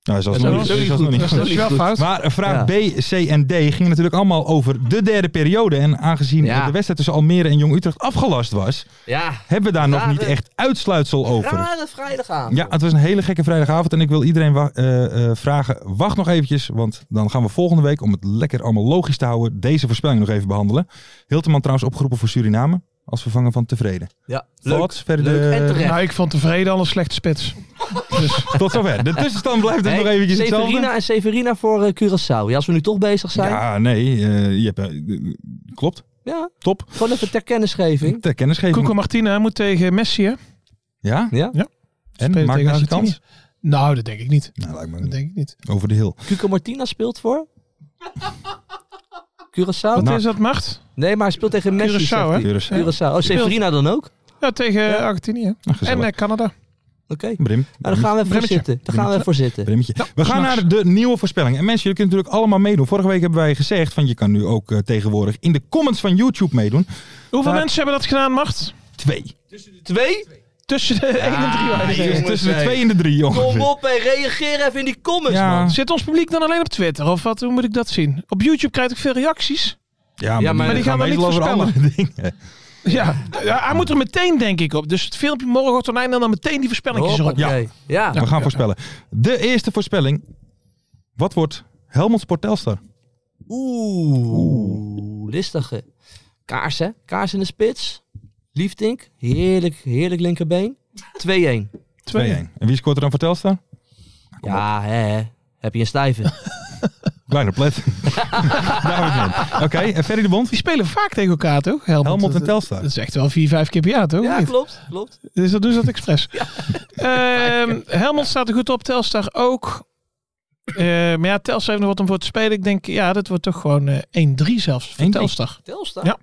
Speaker 3: Nou, is alsnog
Speaker 1: Dat
Speaker 3: niet-
Speaker 1: is ook
Speaker 3: is
Speaker 1: niet
Speaker 3: alsnog
Speaker 1: goed.
Speaker 3: niet
Speaker 1: Dat is
Speaker 3: goed.
Speaker 1: ook niet
Speaker 4: wel
Speaker 1: goed.
Speaker 4: fout.
Speaker 3: Maar vraag
Speaker 1: Ja.
Speaker 3: B, C en D ging natuurlijk allemaal over de derde periode. En aangezien
Speaker 1: Ja.
Speaker 3: de wedstrijd tussen Almere en Jong Utrecht afgelast was,
Speaker 1: Ja.
Speaker 3: hebben we daar nog
Speaker 1: Rare-
Speaker 3: niet echt uitsluitsel over.
Speaker 1: Rare vrijdag aan.
Speaker 3: Ja, het was een hele gekke vrijdagavond. En ik wil iedereen wa- eh, eh, vragen, wacht nog eventjes. Want dan gaan we volgende week, om het lekker allemaal logisch te houden, deze voorspelling nog even behandelen. Hilteman trouwens opgeroepen voor Suriname. Als vervanger van tevreden.
Speaker 1: Ja,
Speaker 3: Thoughts? Verder
Speaker 1: Leuk
Speaker 3: de-
Speaker 1: en terecht.
Speaker 4: Nou, ik vond tevreden al een slechte spits.
Speaker 3: Tot zover. De tussenstand blijft dus
Speaker 1: Hey,
Speaker 3: nog eventjes hetzelfde.
Speaker 1: Severina en Severina voor eh, Curaçao. Ja, als we nu toch bezig zijn. Ja.
Speaker 3: Ja, nee. eh, je hebt, eh, klopt. Top.
Speaker 1: Gewoon even ter kennisgeving.
Speaker 3: Ter
Speaker 4: Cuco
Speaker 3: kennisgeving.
Speaker 4: Martina moet tegen Messi, hè?
Speaker 3: Ja?
Speaker 1: Ja?
Speaker 3: En?
Speaker 4: Spelen
Speaker 3: Maakt
Speaker 4: tegen
Speaker 3: nou de kans?
Speaker 4: Argentinië. Nou, dat denk ik niet.
Speaker 3: Nou, lijkt me
Speaker 4: Dat denk ik niet.
Speaker 3: over de hill.
Speaker 1: Cuco Martina speelt voor... Curaçao?
Speaker 4: Wat is dat, Mart?
Speaker 1: Nee, maar hij speelt tegen Messi.
Speaker 4: Curaçao,
Speaker 1: zegt hij.
Speaker 4: hè?
Speaker 3: Curaçao.
Speaker 1: Curaçao. Oh, Severina dan ook?
Speaker 4: Ja, tegen eh, Argentinië.
Speaker 3: Nou,
Speaker 4: En
Speaker 3: gezellig.
Speaker 4: eh, Canada.
Speaker 1: Oké.
Speaker 3: Brim.
Speaker 1: Nou, daar gaan we voor
Speaker 4: Bremmetje.
Speaker 1: zitten. Daar gaan we voor zitten.
Speaker 3: Brimmetje. we gaan
Speaker 4: s'nachts.
Speaker 3: naar de nieuwe voorspelling. En mensen, jullie kunnen natuurlijk allemaal meedoen. Vorige week hebben wij gezegd, van je kan nu ook eh, tegenwoordig in de comments van YouTube meedoen.
Speaker 4: Hoeveel
Speaker 3: Daar-
Speaker 4: mensen hebben dat gedaan, Mart?
Speaker 3: Twee.
Speaker 1: Twee?
Speaker 4: Tussen de 1 en 3.
Speaker 1: Ah,
Speaker 4: wou je
Speaker 3: Dus
Speaker 4: zeggen.
Speaker 1: jongens,
Speaker 3: tussen de
Speaker 1: hey.
Speaker 3: twee en de drie, jongen.
Speaker 1: Kom op en reageer even in die comments,
Speaker 3: Ja.
Speaker 1: man.
Speaker 4: Zit ons publiek dan alleen op Twitter? Of wat? Hoe moet ik dat zien? Op YouTube krijg ik veel reacties.
Speaker 3: Ja, maar,
Speaker 1: maar
Speaker 3: die
Speaker 1: die
Speaker 3: gaan
Speaker 4: gaan we
Speaker 3: meestal
Speaker 4: niet
Speaker 3: over andere dingen.
Speaker 4: Ja, ja, hij moet er meteen denk ik op. Dus het filmpje morgen wordt online en dan meteen die voorspellingjes erop.
Speaker 1: Hoppakee. Nou, Ja.
Speaker 3: We gaan voorspellen. De eerste voorspelling. Wat wordt Helmond Sport Telstar?
Speaker 1: Oeh, listige. Kaars, hè? Kaars in de spits. Liefdink. Heerlijk, heerlijk linkerbeen. 2-1.
Speaker 3: 2-1. En wie scoort er dan voor Telstar?
Speaker 1: Ja, hè, hè. Heb je een stijve.
Speaker 3: Kleine plet. Daar wordt het mee. Oké, en Ferry de Bond.
Speaker 4: Die spelen vaak tegen elkaar, toch? eh, Helmond,
Speaker 3: Helmond en Telstar.
Speaker 4: Dat is echt wel vier, vijf keer per jaar, toch?
Speaker 1: Ja,
Speaker 4: Of niet?
Speaker 1: klopt. klopt.
Speaker 4: Dus dat doen ze dat expres. Ehm, Helmond staat er goed op, Telstar ook. Eh, maar ja, Telstar heeft nog wat om voor te spelen. Ik denk, ja, dat wordt toch gewoon eh, 1-3 zelfs voor
Speaker 3: 1-3.
Speaker 4: Telstar.
Speaker 1: Telstar?
Speaker 4: Ja.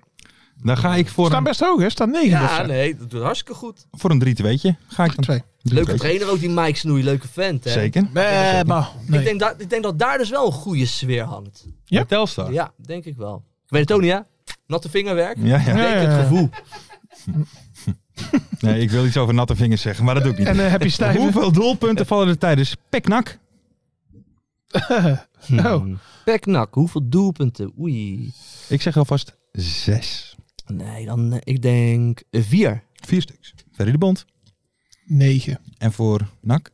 Speaker 3: Daar ga ik
Speaker 4: Ze
Speaker 3: voor
Speaker 4: staan
Speaker 3: een,
Speaker 4: best hoog, hè? Ze staan 9.
Speaker 1: Ja, nee, dat doet hartstikke goed.
Speaker 3: voor een 3-2'tje. Ga ik dan.
Speaker 4: Twee.
Speaker 1: Leuke
Speaker 3: 3-2'tje.
Speaker 1: trainer ook, die Mike Snoei. Leuke vent, hè?
Speaker 3: Zeker.
Speaker 1: eh, Ik, denk dat, ik denk dat daar dus wel een goede sfeer hangt.
Speaker 4: Ja.
Speaker 3: Telstar.
Speaker 1: Ja, denk ik wel. Ik weet het ook niet, hè? Natte vingerwerk.
Speaker 3: Ja, ja.
Speaker 1: Denk het gevoel.
Speaker 3: Nee, ik wil iets over natte vingers zeggen, maar dat doe ik niet.
Speaker 4: En eh, heb je stijve...
Speaker 3: Hoeveel
Speaker 4: Eh.
Speaker 3: doelpunten vallen er tijdens Peknak?
Speaker 4: Oh.
Speaker 1: Hmm. Peknak, hoeveel doelpunten? Oei.
Speaker 3: Ik zeg alvast zes.
Speaker 1: Nee, dan eh, ik denk eh, vier.
Speaker 3: Vier stuks. Ferry de Bond.
Speaker 4: 9.
Speaker 3: En voor Nak?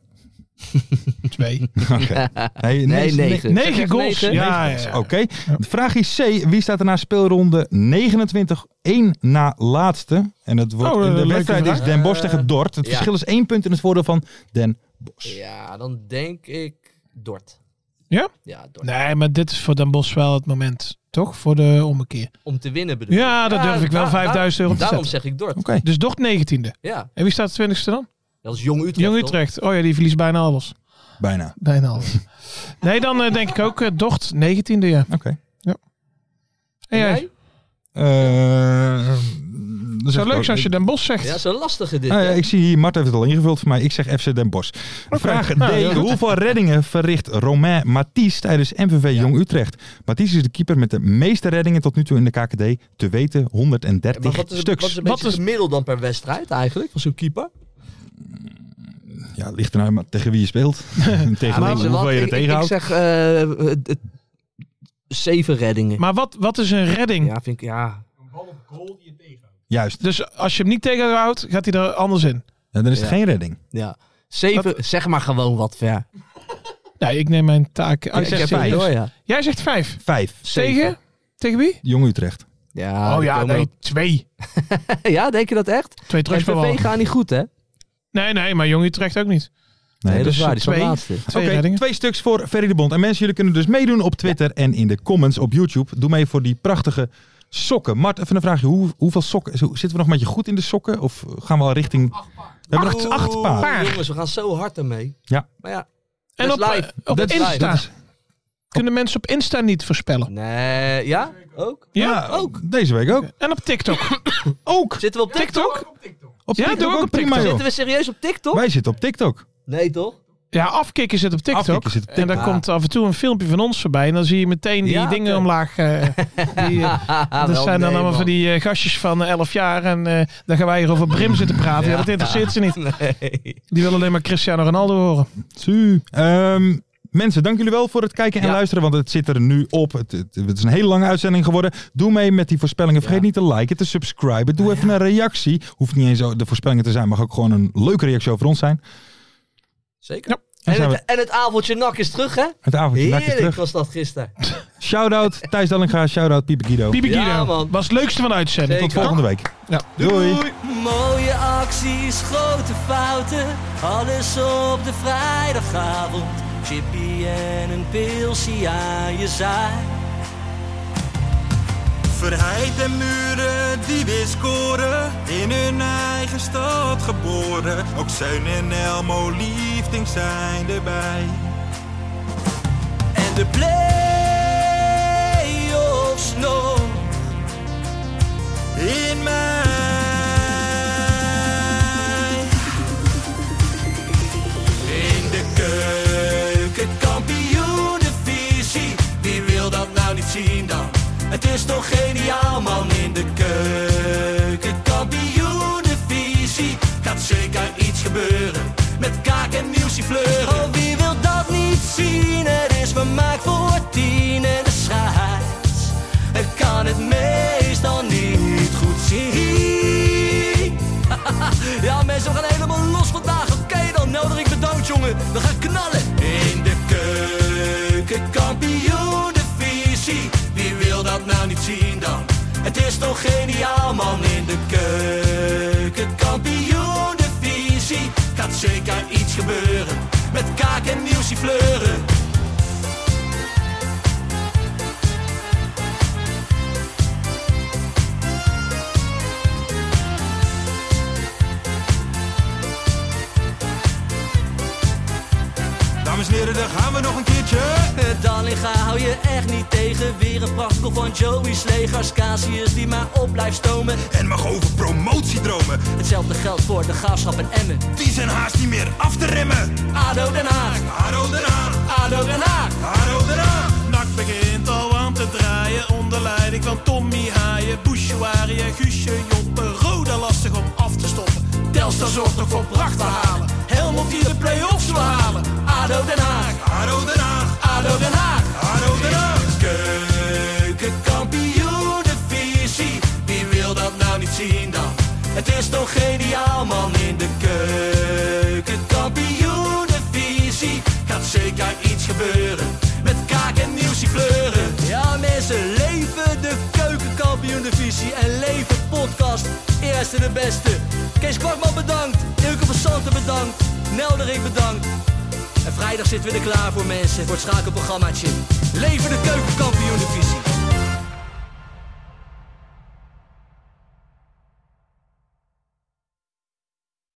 Speaker 4: 2.
Speaker 3: Oké. Nee,
Speaker 1: Nee, negen.
Speaker 4: 9 goals.
Speaker 1: Negen?
Speaker 4: Ja,
Speaker 3: Is
Speaker 4: ja.
Speaker 3: Oké. De Vraag is C. Wie staat er na speelronde 29 1 na laatste? En het wordt
Speaker 4: Oh,
Speaker 3: in de
Speaker 4: leuke
Speaker 3: wedstrijd
Speaker 4: vraag. Eh,
Speaker 3: is Den Bosch tegen Dort. Het
Speaker 1: ja.
Speaker 3: verschil is één punt in het voordeel van Den Bosch.
Speaker 1: Ja, dan denk ik Dort.
Speaker 4: Ja?
Speaker 1: Ja, Dort.
Speaker 4: Nee, maar dit is voor Den Bosch wel het moment, toch? Voor de ommekeer.
Speaker 1: Om te winnen bedoel ik.
Speaker 4: Ja, dat durf ik wel
Speaker 1: daar-
Speaker 4: 5000 euro te
Speaker 1: Daarom
Speaker 4: zetten.
Speaker 1: zeg ik Dort.
Speaker 3: Oké.
Speaker 4: Dus Dort 19e.
Speaker 1: Ja,
Speaker 4: En wie staat 20ste dan?
Speaker 1: dat is Jong Utrecht.
Speaker 4: Jong
Speaker 1: toch?
Speaker 4: Utrecht. Oh ja, die verliest bijna alles.
Speaker 3: Bijna.
Speaker 4: Bijna alles. nee, dan eh, denk ik ook eh, Dort 19e, ja.
Speaker 3: Oké.
Speaker 4: En
Speaker 1: En jij?
Speaker 4: jij?
Speaker 3: Eh, dat
Speaker 4: Zo leuk als je Den Bosch zegt.
Speaker 1: Ja, zo lastige dit.
Speaker 3: Nou ja,
Speaker 1: hè?
Speaker 3: ik zie hier, Mart heeft het al ingevuld voor mij. Ik zeg FC Den Bosch. Vraag D.
Speaker 4: Nou, heel goed.
Speaker 3: hoeveel reddingen verricht Romain Mathies tijdens MVV Jong Utrecht? Mathies is de keeper met de meeste reddingen tot nu toe in de KKD. Te weten 130
Speaker 1: maar wat is,
Speaker 3: stuks.
Speaker 1: wat is een
Speaker 4: Wat
Speaker 1: beetje
Speaker 4: is-
Speaker 1: gemiddeld dan per wedstrijd eigenlijk? Van zo'n keeper?
Speaker 3: Ja, het ligt er nou maar tegen wie je speelt. En tegen
Speaker 1: maar
Speaker 3: hoeveel je er
Speaker 1: ik, ik, ik
Speaker 3: tegenhoudt.
Speaker 1: zeg eh, eh, eh, zeven reddingen.
Speaker 4: Maar wat, wat is een redding?
Speaker 1: Ja, vind ik, ja.
Speaker 3: Juist.
Speaker 4: Dus als je hem niet tegenhoudt, gaat hij er anders in.
Speaker 3: En dan is het
Speaker 1: Ja.
Speaker 3: geen redding.
Speaker 1: ja. Zeven, zeg maar gewoon wat ver.
Speaker 4: Nee, Nou, ik neem mijn taak. Oh,
Speaker 3: Ik
Speaker 4: je zegt
Speaker 3: heb
Speaker 4: serieus.
Speaker 3: vijf.
Speaker 1: Hoor, ja.
Speaker 4: Jij zegt vijf.
Speaker 3: Vijf.
Speaker 4: Tegen? Tegen wie?
Speaker 3: Jong Utrecht.
Speaker 1: Ja,
Speaker 4: oh
Speaker 1: die
Speaker 4: ja,
Speaker 1: komen
Speaker 4: nee, twee.
Speaker 1: op- ja, denk je dat echt?
Speaker 4: Twee
Speaker 1: MVV
Speaker 4: terugspelballen.
Speaker 1: gaan niet goed, hè?
Speaker 4: Nee, nee, maar Jong Utrecht ook niet.
Speaker 1: Nee, dat is
Speaker 4: dus
Speaker 1: waar. Die staan
Speaker 4: twee.
Speaker 1: laatste.
Speaker 4: Twee
Speaker 3: Oké,
Speaker 4: reddingen.
Speaker 3: twee stuks voor Ferry de Bond. En mensen, jullie kunnen dus meedoen op Twitter en in de comments op YouTube. Doe mee voor die prachtige sokken. Mart, even een vraagje. Hoe, hoeveel sokken? zo- Zitten we nog met je goed in de sokken? Of gaan we al richting... We hebben nog
Speaker 4: Oh.
Speaker 3: acht paar.
Speaker 1: Oeh, Jongens, we gaan zo hard ermee.
Speaker 3: Ja.
Speaker 1: Maar ja,
Speaker 4: En
Speaker 1: That's
Speaker 4: op, eh,
Speaker 1: live.
Speaker 4: op
Speaker 1: That's live.
Speaker 4: Insta.
Speaker 1: Dat is-
Speaker 4: Kunnen mensen op Insta niet voorspellen.
Speaker 1: nee, ja? Ook?
Speaker 4: Ja,
Speaker 1: ook.
Speaker 3: Deze week ook.
Speaker 4: En op TikTok.
Speaker 3: Ook.
Speaker 1: Zitten we op TikTok?
Speaker 3: Op
Speaker 4: Ja, doe ook op TikTok.
Speaker 3: joh.
Speaker 1: Zitten we serieus op TikTok?
Speaker 3: Wij zitten op TikTok.
Speaker 1: Nee, toch?
Speaker 4: Ja, afkikken zit op TikTok.
Speaker 3: Afkikken zit op
Speaker 4: En daar
Speaker 1: TikTok.
Speaker 4: komt af en toe een filmpje van ons voorbij. En dan zie je meteen die
Speaker 1: Ja,
Speaker 4: dingen
Speaker 1: oké.
Speaker 4: omlaag. eh, die, eh,
Speaker 1: Haha,
Speaker 4: dat
Speaker 1: wel,
Speaker 4: zijn dan
Speaker 1: nee,
Speaker 4: allemaal
Speaker 1: man.
Speaker 4: van die eh, gastjes van eh, 11 jaar. En eh dan gaan wij hier over Brim zitten praten. Ja, dat interesseert ze niet.
Speaker 1: Nee.
Speaker 4: Die willen alleen maar Cristiano Ronaldo horen.
Speaker 3: Su. Ehm, mensen, dank jullie wel voor het kijken en
Speaker 1: Ja.
Speaker 3: luisteren, want het zit er nu op. Het, het- het is een hele lange uitzending geworden. Doe mee met die voorspellingen. Vergeet
Speaker 1: Ja.
Speaker 3: niet te liken, te subscriben. Doe even een reactie. Hoeft niet eens zo de voorspellingen te zijn, mag ook gewoon een leuke reactie over ons zijn.
Speaker 1: Zeker.
Speaker 4: Ja.
Speaker 3: En
Speaker 1: En,
Speaker 3: zijn
Speaker 1: het, en het avondje nak is terug, hè?
Speaker 3: Het avondje maak je
Speaker 1: Heerlijk
Speaker 3: terug.
Speaker 1: was dat gisteren.
Speaker 3: Shout-out Thijs Dallinga, shout-out Pieper Guido.
Speaker 4: Bibi
Speaker 1: Ja,
Speaker 4: Guido.
Speaker 1: man.
Speaker 4: was het leukste van de uitzending.
Speaker 3: Tot
Speaker 1: Zeker.
Speaker 3: volgende week.
Speaker 4: Ja.
Speaker 3: Doei.
Speaker 2: Mooie acties, grote fouten, alles op de vrijdagavond. Chippy en een pilsie aan je zaai.
Speaker 7: Verheid en muren die weer scoren, in hun eigen stad geboren. Ook Zeun en Elmo liefding zijn erbij.
Speaker 2: En de play-offs nog.
Speaker 7: In mij.
Speaker 2: In de keuken, kampioenenvisie. Wie wil dat nou niet zien dan? Het is toch geniaal man in de keuken, kampioenenvisie. Gaat zeker iets gebeuren met kaak en nieuwsie fleuren. Oh, wie wil dat niet zien? Het is vermaakt voor tien en de scheids. Ik kan het meestal niet goed zien. Ja, mensen, we gaan helemaal los vandaag. Oké dan, Nelderik bedankt, jongen. We gaan knallen. In de keuken, kampioenenvisie. Wie wil dat nou niet zien dan? Het is toch geniaal, man. In de keuken, kampioenenvisie. Gaat zeker iets gebeuren. Met kaak en nieuwsie fleuren.
Speaker 7: Dames en heren, daar gaan we nog een keertje.
Speaker 2: Dallinga Eh, hou je echt niet tegen. Weer een prachtkel van Joey's legers. Casius die maar op blijft stomen.
Speaker 7: En mag over promotiedromen,
Speaker 2: Hetzelfde geldt voor de graafschap en Emmen.
Speaker 7: die zijn haast niet meer af te remmen.
Speaker 2: ADO Den Haag,
Speaker 7: Haro eraan,
Speaker 2: ADO Den Haag.
Speaker 7: haro eraan.
Speaker 8: Nak begint al aan te draaien onder leiding van Tommy Haaien.
Speaker 2: en Guusje Joppen. Roda lastig om af te stoppen. Telstar zorgt nog voor pracht te halen. Helmond die de play-offs wil halen. ADO Den Haag. ADO Den Haag. ADO Den Haag. ADO Den Haag. Keukenkampioenenvisie. Wie wil dat nou niet zien dan? Het is toch geniaal man in de keukenkampioenenvisie. Gaat zeker iets gebeuren. Met kaak en nieuwsie fleuren. Ja mensen, leven de keukenkampioenenvisie. En leven podcast. Eerste de beste. Kees Kwakman bedankt. Ilke van Santen bedankt. Nelderik bedankt. En vrijdag zitten we er klaar voor mensen. Voor het schakelprogrammaatje. Leven de keukenkampioenenvisie.